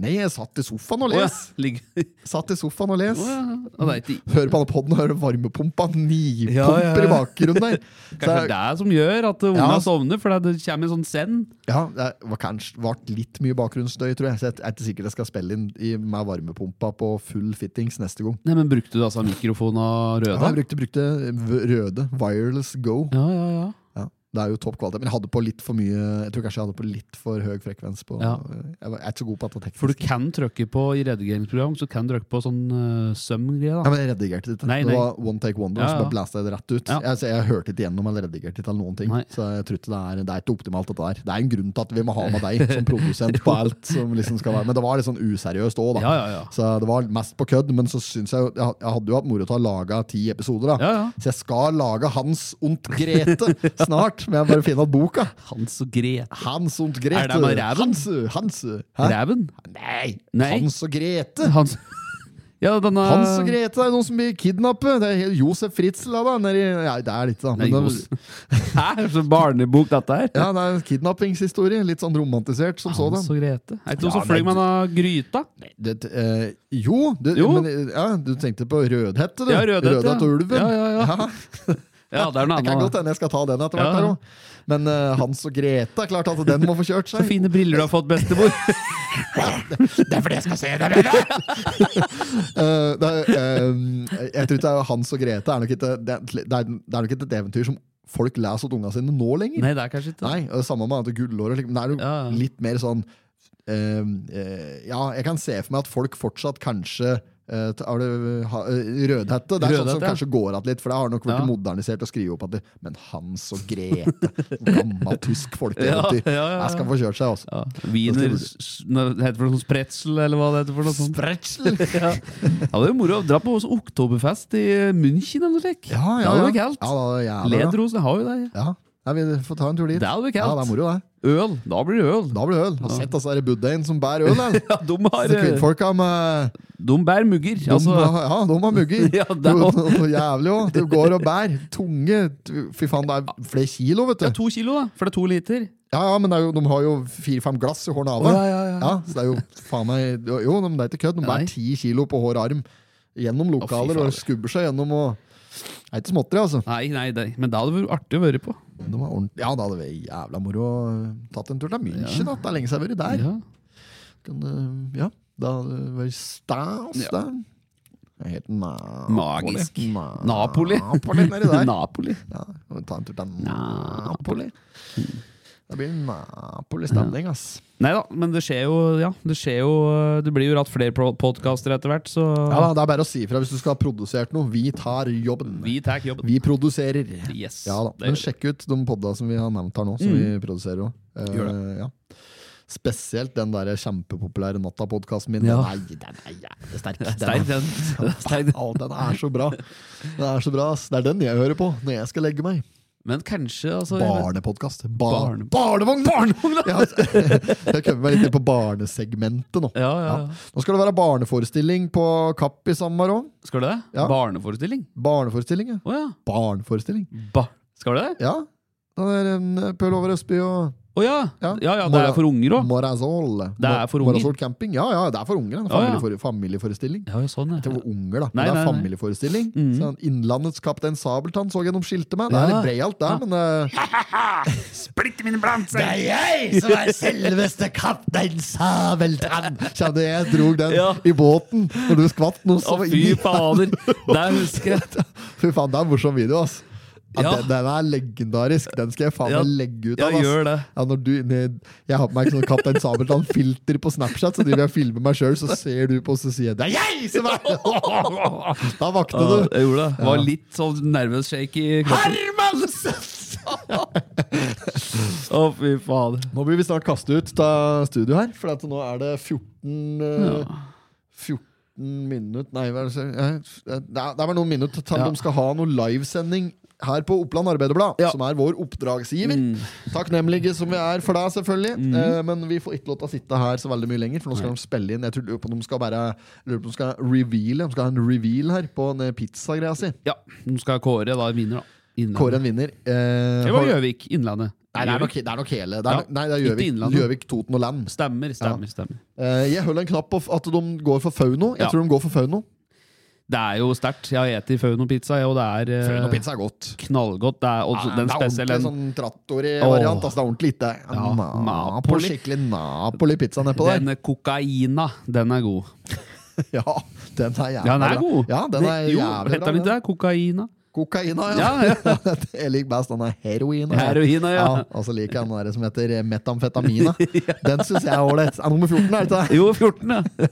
[SPEAKER 1] Nei, jeg satt i sofaen og
[SPEAKER 2] Å, ja.
[SPEAKER 1] les.
[SPEAKER 2] Ligger-
[SPEAKER 1] Satt i sofaen og les.
[SPEAKER 2] Å, ja. Ja, det er ikke
[SPEAKER 1] Hører på denne podden og hører varmepumpa. Nipumper
[SPEAKER 2] Ja, ja, ja.
[SPEAKER 1] i bakgrunnen der. Så
[SPEAKER 2] Kanskje
[SPEAKER 1] jeg-
[SPEAKER 2] det er det som gjør at uh, unga
[SPEAKER 1] Ja.
[SPEAKER 2] sovner, for det kommer en sånn send.
[SPEAKER 1] Ja, det var kanskje vart litt mye bakgrunnsstøy, tror jeg. Så jeg er ikke sikker jeg skal spille inn i, med varmepumpa på full fittings neste gang.
[SPEAKER 2] Nei, men Brukte du altså mikrofon av
[SPEAKER 1] Ja,
[SPEAKER 2] røde?
[SPEAKER 1] jeg brukte, brukte v- røde Wireless Go.
[SPEAKER 2] Ja, ja, ja.
[SPEAKER 1] Ja, det er jo topp kvalitet. Men jeg hadde på litt for mye Jeg tror kanskje jeg hadde på litt for høy frekvens. På,
[SPEAKER 2] Ja.
[SPEAKER 1] Jeg var- jeg er ikke så god på dette teknisk.
[SPEAKER 2] For du kan trykke på i redigeringsprogram Så kan du trykke på sånn uh, søm-greie.
[SPEAKER 1] ja,
[SPEAKER 2] da
[SPEAKER 1] men jeg redigerte ikke.
[SPEAKER 2] Nei,
[SPEAKER 1] Det
[SPEAKER 2] nei.
[SPEAKER 1] var One Take Wonder,
[SPEAKER 2] Ja,
[SPEAKER 1] så
[SPEAKER 2] ja.
[SPEAKER 1] bare blæste jeg det rett ut.
[SPEAKER 2] Ja.
[SPEAKER 1] Jeg, så jeg hørte ikke gjennom eller redigerte ikke eller noen ting.
[SPEAKER 2] Nei.
[SPEAKER 1] Så jeg tror ikke det er, det er ikke optimalt, dette der. Det er en grunn til at vi må ha med deg som produsent på alt som liksom skal være Men det var litt sånn useriøst òg, da.
[SPEAKER 2] Ja, ja, ja.
[SPEAKER 1] Så det var mest på kødd, men så syns jeg jo Jeg had- jeg hadde jo hatt moro til å lage ti episoder, da.
[SPEAKER 2] Ja, ja.
[SPEAKER 1] Så jeg skal lage Hans und Grete snart, men jeg må bare finne igjen boka.
[SPEAKER 2] Hans og Grete.
[SPEAKER 1] Hans und Grete.
[SPEAKER 2] Er det med ræven?
[SPEAKER 1] Hansu, Hansu. Hæ?
[SPEAKER 2] Ræven?
[SPEAKER 1] Nei.
[SPEAKER 2] Nei.
[SPEAKER 1] Hans og Grete.
[SPEAKER 2] Hans Ja, denne
[SPEAKER 1] Hans og Grete det er jo noen som blir kidnappet. Det er Josef Fritzl, da. da. Nedi, nei, det er det ikke, da.
[SPEAKER 2] Nei,
[SPEAKER 1] Men
[SPEAKER 2] Jos.
[SPEAKER 1] det,
[SPEAKER 2] Hæ? Så barnebok, dette her.
[SPEAKER 1] ja, det er en kidnappingshistorie. Litt sånn romantisert som sådan.
[SPEAKER 2] Hans og Grete. Er det ikke
[SPEAKER 1] Ja,
[SPEAKER 2] noen som fløy
[SPEAKER 1] men-
[SPEAKER 2] med denne gryta?
[SPEAKER 1] Det, eh, jo, du,
[SPEAKER 2] Jo.
[SPEAKER 1] Men, eh, ja, du tenkte på Rødhette, du.
[SPEAKER 2] Ja, Rødhette, ja.
[SPEAKER 1] og ulven.
[SPEAKER 2] Ja, ja, ja. Ja, det er noe
[SPEAKER 1] Det kan godt
[SPEAKER 2] annet.
[SPEAKER 1] hende jeg skal ta den etter
[SPEAKER 2] Ja.
[SPEAKER 1] hvert. her også. Men eh, Hans og Grete er klart at den må få kjørt
[SPEAKER 2] Så
[SPEAKER 1] seg.
[SPEAKER 2] fine briller du har fått, bestemor.
[SPEAKER 1] Det er fordi jeg skal se dere! det er, eh, jeg tror ikke det er Hans og Grete er nok ikke, det, er, det er nok ikke et eventyr som folk leser til unga sine nå lenger.
[SPEAKER 2] Nei, det er kanskje ikke
[SPEAKER 1] Nei, og det samme med at det er gullår. og slik, Men det er jo
[SPEAKER 2] Ja, ja.
[SPEAKER 1] litt mer sånn eh, eh, Ja, jeg kan se for meg at folk fortsatt kanskje eh, ta- er det, ha, eh, Rødhette. Det er sånn
[SPEAKER 2] Rødhette,
[SPEAKER 1] som
[SPEAKER 2] ja.
[SPEAKER 1] kanskje går igjen litt, for det har nok blitt
[SPEAKER 2] Ja.
[SPEAKER 1] modernisert å skrive opp at det, Men Hans og Grete, gammel tysk folkeeventyr.
[SPEAKER 2] Ja, ja, ja, ja.
[SPEAKER 1] Jeg skal få kjørt seg, altså.
[SPEAKER 2] Ja. Wiener s- nå- Heter det for noe sånn pretzel, eller hva det heter? for noe sånt
[SPEAKER 1] Spretsel!
[SPEAKER 2] ja. ja, det er jo moro å dra på også Oktoberfest i München eller noe slikt.
[SPEAKER 1] Ja, ja,
[SPEAKER 2] Det
[SPEAKER 1] ja.
[SPEAKER 2] hadde vært kaldt.
[SPEAKER 1] Ja, det er jævlig bra.
[SPEAKER 2] Ledrosen har jo det.
[SPEAKER 1] Ja. Nei, vi får ta en tur dit.
[SPEAKER 2] Det hadde vært
[SPEAKER 1] Ja, det er
[SPEAKER 2] kaldt.
[SPEAKER 1] moro, det.
[SPEAKER 2] Øl. Da blir det øl.
[SPEAKER 1] Da blir det øl. Har sett altså, er det buddhaen som bærer øl, eller?
[SPEAKER 2] Ja, de, har,
[SPEAKER 1] Så Kvinnfolka med
[SPEAKER 2] de bærer mugger.
[SPEAKER 1] De,
[SPEAKER 2] Altså,
[SPEAKER 1] har- ja, de har mugger.
[SPEAKER 2] Ja, det
[SPEAKER 1] det
[SPEAKER 2] er
[SPEAKER 1] er jo jævlig òg. Du går og bærer. Tunge du- Fy faen, det er flere kilo, vet
[SPEAKER 2] ja,
[SPEAKER 1] du.
[SPEAKER 2] to kilo, da. For det er to liter.
[SPEAKER 1] Ja, ja, men det er jo, de har jo fire-fem glass i hver nave.
[SPEAKER 2] Å, ja, ja, ja.
[SPEAKER 1] så det er jo faen meg Jo, men det er ikke kødd. De
[SPEAKER 2] Nei.
[SPEAKER 1] bærer ti kilo på hver arm gjennom lokaler
[SPEAKER 2] faen.
[SPEAKER 1] og skubber seg gjennom og Det er ikke småtteri, altså.
[SPEAKER 2] Nei, nei, nei. Men det hadde vært artig å være på.
[SPEAKER 1] De er ordent- ja, da hadde det vært jævla moro å tatt en tur til München. da. Det er lenge siden jeg har vært der.
[SPEAKER 2] Ja.
[SPEAKER 1] Kan, eh, ja, da hadde det vært stas,
[SPEAKER 2] Ja.
[SPEAKER 1] da. Det er Helt na
[SPEAKER 2] Magisk.
[SPEAKER 1] Na-
[SPEAKER 2] Napoli.
[SPEAKER 1] Ah, Napoli nedi der.
[SPEAKER 2] Napoli.
[SPEAKER 1] Ja, må ta en tur til
[SPEAKER 2] Napoli.
[SPEAKER 1] Napoli. Det blir Napoli-stemning, ass.
[SPEAKER 2] Nei da, men det skjer jo Ja, det skjer jo Det blir jo ratt flere podkaster etter hvert, så
[SPEAKER 1] Ja, da, det er bare å si ifra hvis du skal ha produsert noe. Vi tar jobben.
[SPEAKER 2] vi tar jobben.
[SPEAKER 1] Vi produserer.
[SPEAKER 2] Yes.
[SPEAKER 1] Ja da,
[SPEAKER 2] det
[SPEAKER 1] Men
[SPEAKER 2] gjør vi. Mm.
[SPEAKER 1] sjekk ut de podda som vi har nevnt her nå, som vi produserer òg.
[SPEAKER 2] Gjør
[SPEAKER 1] ja. Spesielt den der kjempepopulære Natta-podkasten min.
[SPEAKER 2] Ja.
[SPEAKER 1] Den, er, den er jævlig sterk. Den er-
[SPEAKER 2] Sterk den. Sterk den.
[SPEAKER 1] Å, den er så bra. Den er så bra, ass. Det er den jeg hører på når jeg skal legge meg.
[SPEAKER 2] Men kanskje, altså jeg vet-
[SPEAKER 1] Barnepodkast. Ba
[SPEAKER 2] Barne-
[SPEAKER 1] Barnevogn! Ja, altså. jeg kommer meg litt inn på barnesegmentet nå.
[SPEAKER 2] Ja, ja, ja.
[SPEAKER 1] Nå skal det være barneforestilling på Kapp i sommer òg.
[SPEAKER 2] Skal det det?
[SPEAKER 1] Ja.
[SPEAKER 2] Barneforestilling?
[SPEAKER 1] Barneforestilling, ja.
[SPEAKER 2] Å ja.
[SPEAKER 1] Barneforestilling.
[SPEAKER 2] Ba. Skal det det?
[SPEAKER 1] Ja. Den der um, mm, Pøl Over Østby og
[SPEAKER 2] Å Å ja.
[SPEAKER 1] Ja.
[SPEAKER 2] Ja, ja, det er for unger òg.
[SPEAKER 1] Morazol.
[SPEAKER 2] Det er for
[SPEAKER 1] Mo-
[SPEAKER 2] unger.
[SPEAKER 1] Morazol camping. Ja, ja, det er for unger. da.
[SPEAKER 2] Ja, ja.
[SPEAKER 1] Familiefore- Familieforestilling.
[SPEAKER 2] Ja, ja, sånn,
[SPEAKER 1] Det
[SPEAKER 2] ja.
[SPEAKER 1] var unger, da.
[SPEAKER 2] Nei,
[SPEAKER 1] Men det
[SPEAKER 2] nei,
[SPEAKER 1] er
[SPEAKER 2] nei.
[SPEAKER 1] familieforestilling. Sånn, Innlandets kaptein Sabeltann så gjennom skiltet meg. Det
[SPEAKER 2] Ja.
[SPEAKER 1] er litt breialt, der, men eh,
[SPEAKER 2] Splitt mine blanser!
[SPEAKER 1] Det er jeg som er selveste kaptein Sabeltann! Kjente jeg dro den
[SPEAKER 2] Ja.
[SPEAKER 1] i båten når du skvatt noe.
[SPEAKER 2] Å,
[SPEAKER 1] Så
[SPEAKER 2] fy
[SPEAKER 1] inn i-
[SPEAKER 2] fader! Der husker jeg
[SPEAKER 1] Fy faen, det er en morsom video, ass. Ja,
[SPEAKER 2] Ja.
[SPEAKER 1] Den, den er legendarisk. Den skal jeg faen
[SPEAKER 2] Ja.
[SPEAKER 1] meg legge ut
[SPEAKER 2] Ja,
[SPEAKER 1] av. ass.
[SPEAKER 2] gjør det.
[SPEAKER 1] Ja, når du, ned- jeg har på meg ikke sånn Kaptein Sabeltann-filter på Snapchat, så driver jeg og filmer meg sjøl, så ser du på, så sier jeg 'det er jeg som er det'! Da vakte
[SPEAKER 2] Ja,
[SPEAKER 1] du.
[SPEAKER 2] jeg gjorde det. Var litt sånn nervøs shake i kroppen. Å, fy fader.
[SPEAKER 1] Nå blir vi snart kastet ut av studio her, for at nå er det 14 eh, 14 minutt Nei, hva er det så- eh, Det er det er vel noen minutter til
[SPEAKER 2] Ja.
[SPEAKER 1] de skal ha noe livesending her på Oppland Arbeiderblad,
[SPEAKER 2] Ja. Mm.
[SPEAKER 1] som er vår oppdragsgiver. Takknemlige som vi er for deg, selvfølgelig. Eh, men vi får ikke lov til å sitte her så veldig mye lenger, for nå skal de spille inn. Jeg tror lurer på om de skal bare lurer på om de skal reveale. De skal ha en reveal her på den pizzagreia si.
[SPEAKER 2] Ja, nå skal Kåre da vinner, da. Innlandet.
[SPEAKER 1] Kåren vinner. Eh,
[SPEAKER 2] Det
[SPEAKER 1] har-
[SPEAKER 2] var Gjøvik. Innlandet.
[SPEAKER 1] Nei, det er nok,
[SPEAKER 2] Gjøvik.
[SPEAKER 1] det er nok hele. Det er,
[SPEAKER 2] Ja.
[SPEAKER 1] nok- Nei, det er
[SPEAKER 2] Ikke
[SPEAKER 1] Gjøvik,
[SPEAKER 2] Innlandet.
[SPEAKER 1] Gjøvik, Toten og Land.
[SPEAKER 2] Stemmer, stemmer, stemmer.
[SPEAKER 1] Eh, jeg holder en knapp på f- at de går for Fauno. Jeg
[SPEAKER 2] Ja.
[SPEAKER 1] tror de går for Fauno.
[SPEAKER 2] Det er jo sterkt. Jeg har spist Fauno-pizza, og det er eh,
[SPEAKER 1] Fauno-pizza er godt.
[SPEAKER 2] knallgodt. Det er, og
[SPEAKER 1] Ja,
[SPEAKER 2] den
[SPEAKER 1] det er
[SPEAKER 2] spesielle
[SPEAKER 1] ordentlig sånn trattori-variant. Altså, det er ordentlig lite
[SPEAKER 2] Ja,
[SPEAKER 1] Napoli.
[SPEAKER 2] Napoli.
[SPEAKER 1] Skikkelig Napoli-pizza nedpå sånn der.
[SPEAKER 2] Den kokaina, den er god.
[SPEAKER 1] ja, den er jævlig
[SPEAKER 2] Ja, den er
[SPEAKER 1] bra.
[SPEAKER 2] god.
[SPEAKER 1] Ja, den er
[SPEAKER 2] jo,
[SPEAKER 1] jævlig
[SPEAKER 2] heter den ikke det? Kokaina?
[SPEAKER 1] Kokaina, ja.
[SPEAKER 2] Ja, ja.
[SPEAKER 1] jeg liker best den er heroin.
[SPEAKER 2] Heroina, ja.
[SPEAKER 1] og så liker jeg den der som heter metamfetamina. Den syns jeg er ålreit. Er nummer 14, er det ikke det?
[SPEAKER 2] Jo, 14, ja.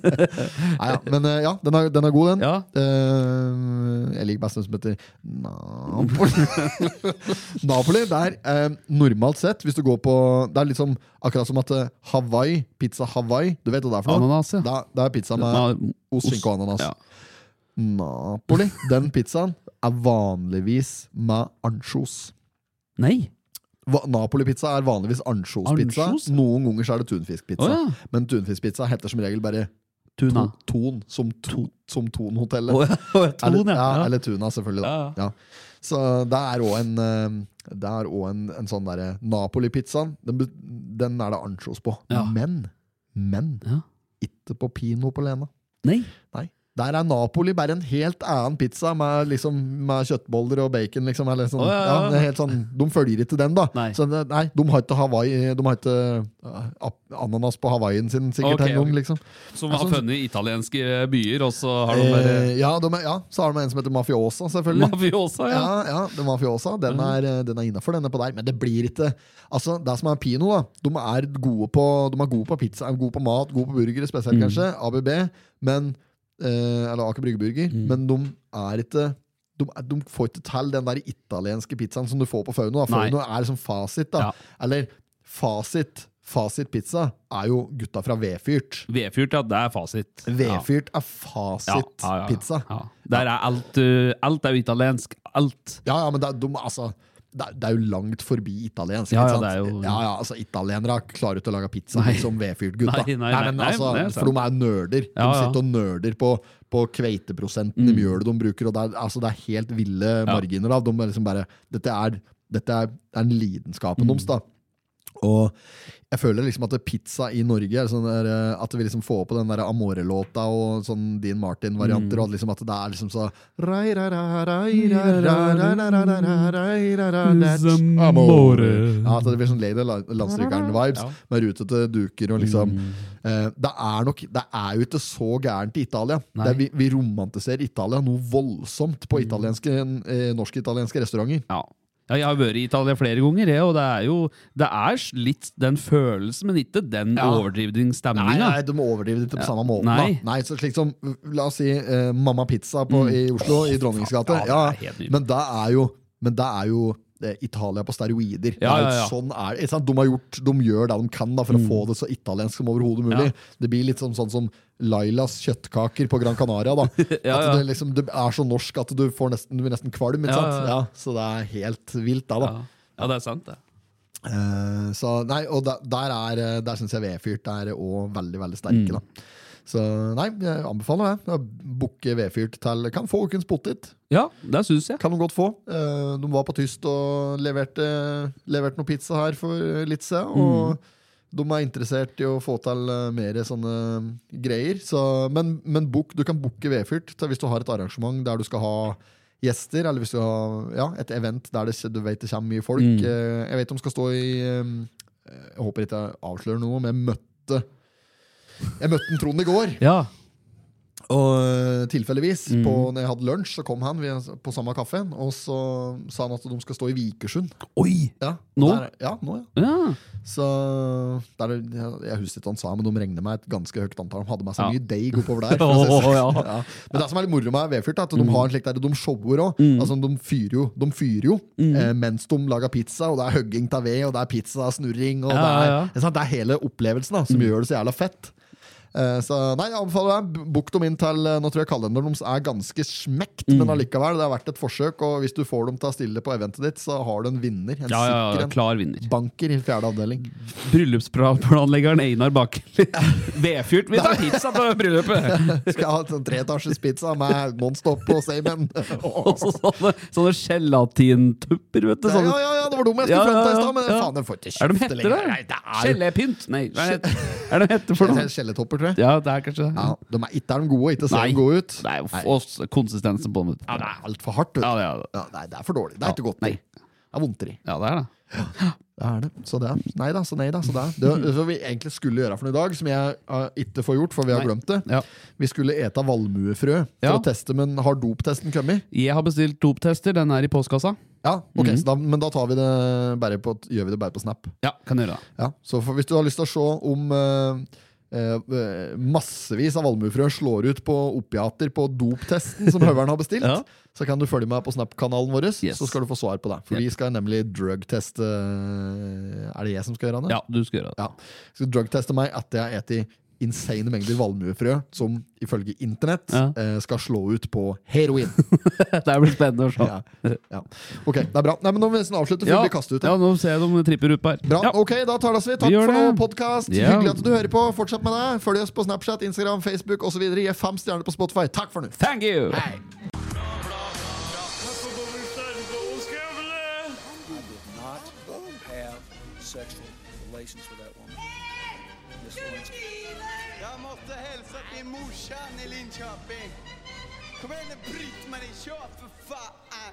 [SPEAKER 1] Nei, ja. Men eh, ja, den er, den er god, den.
[SPEAKER 2] ja.
[SPEAKER 1] Eh, jeg liker best den som heter Napoli. Napoli, det er eh, normalt sett Hvis du går på Det er litt som, akkurat som at eh, Hawaii, pizza Hawaii Du vet hva det er for noe?
[SPEAKER 2] Ananas, ja.
[SPEAKER 1] Det er, det er pizza med
[SPEAKER 2] Ma-
[SPEAKER 1] ost, skinke og ananas.
[SPEAKER 2] Ja.
[SPEAKER 1] Napoli, den pizzaen er vanligvis med ansjos.
[SPEAKER 2] Nei.
[SPEAKER 1] Va- Napoli-pizza er vanligvis ansjospizza.
[SPEAKER 2] Ansjos?
[SPEAKER 1] Noen ganger så er det tunfiskpizza.
[SPEAKER 2] Å ja.
[SPEAKER 1] Men tunfiskpizza heter som regel bare
[SPEAKER 2] Tuna.
[SPEAKER 1] to, Ton, som, to, som Tonhotellet.
[SPEAKER 2] Å ja. å ja,
[SPEAKER 1] Eller-
[SPEAKER 2] Ton, ja.
[SPEAKER 1] ja,
[SPEAKER 2] ja.
[SPEAKER 1] Eller tuna, selvfølgelig. Da.
[SPEAKER 2] Ja,
[SPEAKER 1] Ja. Så det er òg en eh, Det er også en, en sånn derre Napoli-pizzaen. Den, be- den er det ansjos på.
[SPEAKER 2] Ja.
[SPEAKER 1] Men, men
[SPEAKER 2] Ja.
[SPEAKER 1] ikke på Pino på Lena.
[SPEAKER 2] Nei.
[SPEAKER 1] Nei. Der er Napoli bare en helt annen pizza med, liksom, med kjøttboller og bacon. Liksom, eller sånn.
[SPEAKER 2] Å, ja, ja.
[SPEAKER 1] Ja, det er helt sånn, de følger ikke den, da.
[SPEAKER 2] Nei.
[SPEAKER 1] Så det, nei, de har ikke, Hawaii, de har ikke eh, ap- ananas på hawaiien sin, sikkert.
[SPEAKER 2] Ok,
[SPEAKER 1] en gang,
[SPEAKER 2] ok.
[SPEAKER 1] liksom.
[SPEAKER 2] Som
[SPEAKER 1] Ja,
[SPEAKER 2] har
[SPEAKER 1] sånn-
[SPEAKER 2] funnet italienske byer, og så har de bare
[SPEAKER 1] eh, ja, de er, ja, så har de en som heter Mafiosa, selvfølgelig.
[SPEAKER 2] Mafiosa, ja. Mhm.
[SPEAKER 1] Ja, ja, den mafiosa. Den er, eh, den er innafor, denne på der. Men det blir ikke Altså, det som er Pino, da. De er gode på, de er gode på pizza, er gode på mat, gode på burgere
[SPEAKER 2] Mhm.
[SPEAKER 1] spesielt, kanskje. ABB. Men eh, Eller Aker Brygge Burger.
[SPEAKER 2] Mhm.
[SPEAKER 1] Men de er ikke de, er- de får ikke til den der italienske pizzaen som du får på Fauno. da.
[SPEAKER 2] Nei.
[SPEAKER 1] Fauno er liksom fasit, da.
[SPEAKER 2] Ja.
[SPEAKER 1] Eller fasit. Fasit pizza er jo gutta fra Vedfyrt.
[SPEAKER 2] Vedfyrt, ja. Det er fasit. Ja.
[SPEAKER 1] Vedfyrt er
[SPEAKER 2] Ja,
[SPEAKER 1] fasit
[SPEAKER 2] ja, ja,
[SPEAKER 1] pizza.
[SPEAKER 2] Ja. Der er alt uh, Alt er jo italiensk. Alt.
[SPEAKER 1] Ja, ja, men det, er- de, altså, det, er- det er jo langt forbi italiensk.
[SPEAKER 2] Ja,
[SPEAKER 1] ikke
[SPEAKER 2] ja,
[SPEAKER 1] sant?
[SPEAKER 2] det er jo-
[SPEAKER 1] ja, ja, altså, Italienere klarer ikke å lage pizza
[SPEAKER 2] Nei.
[SPEAKER 1] som vedfyrt gutta.
[SPEAKER 2] Nei, nei,
[SPEAKER 1] men,
[SPEAKER 2] nei,
[SPEAKER 1] altså,
[SPEAKER 2] nei, det er sant.
[SPEAKER 1] for de er nerder. De
[SPEAKER 2] Ja, ja. Mm.
[SPEAKER 1] sitter og nerder på, på kveiteprosenten i mjølet de bruker. Og det, er, altså, det er helt ville marginer. Da. De er liksom bare, dette er, dette er, er en lidenskapen deres.
[SPEAKER 2] Mm.
[SPEAKER 1] da. Og jeg føler liksom at pizza i Norge er sånn der, eh, At vi liksom får på den der Amore-låta og sånn Dean
[SPEAKER 2] Mm.
[SPEAKER 1] Martin-varianter, og at liksom at det er liksom så rai, rai, rai, rai, rai, rai, rai, rai, rai, rai, rai, rai, that's Amore. Ja, at det blir sånn Lady Lan- Landstrykeren-vibes med rutete duker og liksom eh, Det er nok Det er jo ikke så gærent i Italia. Det er, vi, vi romantiserer Italia noe voldsomt på italienske, eh, norsk-italienske restauranter.
[SPEAKER 2] Ja. ja. Jeg har vært i Italia flere ganger, jeg, og det er jo Det er litt den følelsen, men ikke den
[SPEAKER 1] Ja.
[SPEAKER 2] overdrivende
[SPEAKER 1] Nei,
[SPEAKER 2] stemninga.
[SPEAKER 1] nei, de overdriver det ikke på samme måten.
[SPEAKER 2] Nei.
[SPEAKER 1] Da. Nei, så slik som, La oss si eh, Mamma Pizza på, i Oslo, i Dronningens gate. Ja,
[SPEAKER 2] Ja, det er helt nydelig.
[SPEAKER 1] men det er jo, men det er jo eh, Italia på steroider.
[SPEAKER 2] Ja,
[SPEAKER 1] det er jo
[SPEAKER 2] ja, ja.
[SPEAKER 1] Sånn er, det, ikke sant? De, har gjort, de gjør det de kan da, for å få det så italiensk som overhodet mulig.
[SPEAKER 2] Ja.
[SPEAKER 1] Det blir litt sånn, sånn som Lailas kjøttkaker på Gran Canaria. Da.
[SPEAKER 2] Ja,
[SPEAKER 1] At
[SPEAKER 2] ja.
[SPEAKER 1] det, liksom, det er så norsk at du, får nesten, du blir nesten kvalm. Ikke
[SPEAKER 2] Ja,
[SPEAKER 1] sant?
[SPEAKER 2] ja, ja.
[SPEAKER 1] Ja, så det er helt vilt, det, da.
[SPEAKER 2] Ja. ja, det er sant, det.
[SPEAKER 1] Eh, så, nei, og der, der, er, eh, der syns jeg vedfyrt er òg veldig veldig sterke. Da. Så nei, jeg anbefaler det. Booke vedfyrt til Kan få ukens potet.
[SPEAKER 2] Ja, det syns jeg.
[SPEAKER 1] Kan de godt få. Eh, De var på tyst og leverte, leverte noe pizza her for litt siden.
[SPEAKER 2] Mm.
[SPEAKER 1] Og de er interessert i å få til eh, mer sånne eh, greier. Så, men men book, du kan booke vedfyrt til hvis du har et arrangement der du skal ha gjester, eller hvis du har ja, et event der det, du vet det kommer mye folk.
[SPEAKER 2] Mm.
[SPEAKER 1] Eh, Jeg vet de skal stå i eh, Jeg håper ikke jeg avslører noe, men jeg møtte jeg møtte en Trond i går.
[SPEAKER 2] Ja.
[SPEAKER 1] Og øh, tilfeldigvis, på, når jeg hadde lunsj, så kom han vi, på samme kaffen, og så sa han at de skal stå i Vikersund.
[SPEAKER 2] Oi!
[SPEAKER 1] Ja,
[SPEAKER 2] Nå?
[SPEAKER 1] Der, ja, nå, ja.
[SPEAKER 2] Ja.
[SPEAKER 1] Så der, jeg, jeg husker ikke hva han sa, men de regner med et ganske høyt antall. De hadde med seg
[SPEAKER 2] Ja.
[SPEAKER 1] mye deig oppover der. for å si det
[SPEAKER 2] Åh,
[SPEAKER 1] sånn.
[SPEAKER 2] ja. Mm.
[SPEAKER 1] Ja. Men det som er litt moro med vedfyrt, er at de har en slik der, de shower òg. Altså, de fyrer jo, de fyrer jo
[SPEAKER 2] Mm.
[SPEAKER 1] eh, mens de lager pizza, og det er hugging av ved, og det er pizza, det er snurring og
[SPEAKER 2] Ja,
[SPEAKER 1] det, er,
[SPEAKER 2] ja, Mm. ja.
[SPEAKER 1] ikke sant? det er hele opplevelsen da, som gjør det så jævla fett. Eh, Så nei, jeg anbefaler deg. B- Book dem inn til eh, Nå tror jeg kalenderen deres er ganske smekt,
[SPEAKER 2] Mm.
[SPEAKER 1] men allikevel, det er verdt et forsøk. Og hvis du får dem til å stille på eventet ditt, så har du en vinner. En
[SPEAKER 2] Ja, ja, ja,
[SPEAKER 1] sikker en.
[SPEAKER 2] klar vinner.
[SPEAKER 1] Banker i fjerde avdeling.
[SPEAKER 2] Bryllupsplanleggeren Einar Bakkeli. Vedfyrt! Vi tar pizza på bryllupet!
[SPEAKER 1] Skal jeg ha en sånn treetasjes pizza med Monstop og Semen.
[SPEAKER 2] Og så sånne, sånne gelatintupper, vet du.
[SPEAKER 1] Ja,
[SPEAKER 2] Sånne.
[SPEAKER 1] ja, ja, det var dem jeg
[SPEAKER 2] Ja,
[SPEAKER 1] skulle
[SPEAKER 2] ja,
[SPEAKER 1] fronte i
[SPEAKER 2] ja,
[SPEAKER 1] stad, men
[SPEAKER 2] ja.
[SPEAKER 1] faen, jeg får ikke
[SPEAKER 2] Er de
[SPEAKER 1] kjøpt det
[SPEAKER 2] hette der?
[SPEAKER 1] Nei, det er
[SPEAKER 2] Gelépynt? Nei, hva er det er det hette for noe?
[SPEAKER 1] Skjelletopper, tror jeg.
[SPEAKER 2] Ja, det er kanskje det.
[SPEAKER 1] Ja, de er ikke er de gode, ikke ser
[SPEAKER 2] Nei.
[SPEAKER 1] de gode ut.
[SPEAKER 2] Nei, og konsistensen på den.
[SPEAKER 1] Ja, det er altfor hardt. vet du.
[SPEAKER 2] Ja, det er det.
[SPEAKER 1] Ja, nei, det er for dårlig. Det er ikke godt.
[SPEAKER 2] Nei.
[SPEAKER 1] Det er vondteri.
[SPEAKER 2] Ja, det er det.
[SPEAKER 1] Det er det. Så det er. Nei da, så nei da. Så det er. Det var- det var vi egentlig skulle gjøre for noe i dag, som jeg eh, ikke får gjort, for vi har
[SPEAKER 2] Nei.
[SPEAKER 1] glemt det.
[SPEAKER 2] Ja.
[SPEAKER 1] Vi skulle ete valmuefrø for
[SPEAKER 2] Ja.
[SPEAKER 1] å teste, men har doptesten kommet?
[SPEAKER 2] Jeg har bestilt doptester. Den er i postkassa.
[SPEAKER 1] Ja, ok,
[SPEAKER 2] Mhm.
[SPEAKER 1] så da, men da tar vi det bare på, gjør vi det bare på Snap.
[SPEAKER 2] Ja, kan gjøre det.
[SPEAKER 1] Ja, så for, hvis du har lyst til å se om eh, eh, massevis av valmuefrø slår ut på opiater på doptesten som Høveren har bestilt,
[SPEAKER 2] Ja.
[SPEAKER 1] så kan du følge meg på Snap-kanalen vår,
[SPEAKER 2] Yes.
[SPEAKER 1] så skal du få svar på det. For
[SPEAKER 2] Yep.
[SPEAKER 1] vi skal nemlig drugteste eh, Er det jeg som skal gjøre det?
[SPEAKER 2] Ja, du skal gjøre det.
[SPEAKER 1] Ja. Skal drugteste meg etter jeg har spist insane mengder valmuefrø, som ifølge internett
[SPEAKER 2] Ja.
[SPEAKER 1] eh, skal slå ut på heroin.
[SPEAKER 2] Det blir spennende å se.
[SPEAKER 1] ja. Ja. Ok, det er bra. Nei, men Nå må vi nesten avslutte, for
[SPEAKER 2] Ja,
[SPEAKER 1] vi blir kastet ut.
[SPEAKER 2] ja, nå ser jeg de tripper ut her.
[SPEAKER 1] Bra.
[SPEAKER 2] Ja.
[SPEAKER 1] Ok, da tar det oss vi. Takk
[SPEAKER 2] Vi gjør
[SPEAKER 1] for nå,
[SPEAKER 2] det.
[SPEAKER 1] podkast.
[SPEAKER 2] Ja.
[SPEAKER 1] Hyggelig at du hører på. Fortsett med det. Følg oss på Snapchat, Instagram, Facebook osv. Gi fem stjerner på Spotify. Takk for nå.
[SPEAKER 2] Thank you!
[SPEAKER 3] I did not have sexual relations with that woman. Miss Lewinsky.
[SPEAKER 4] Jag måste hälsa till morsan i Linköping. Kom igen nu Britt-Marie, kör för fan!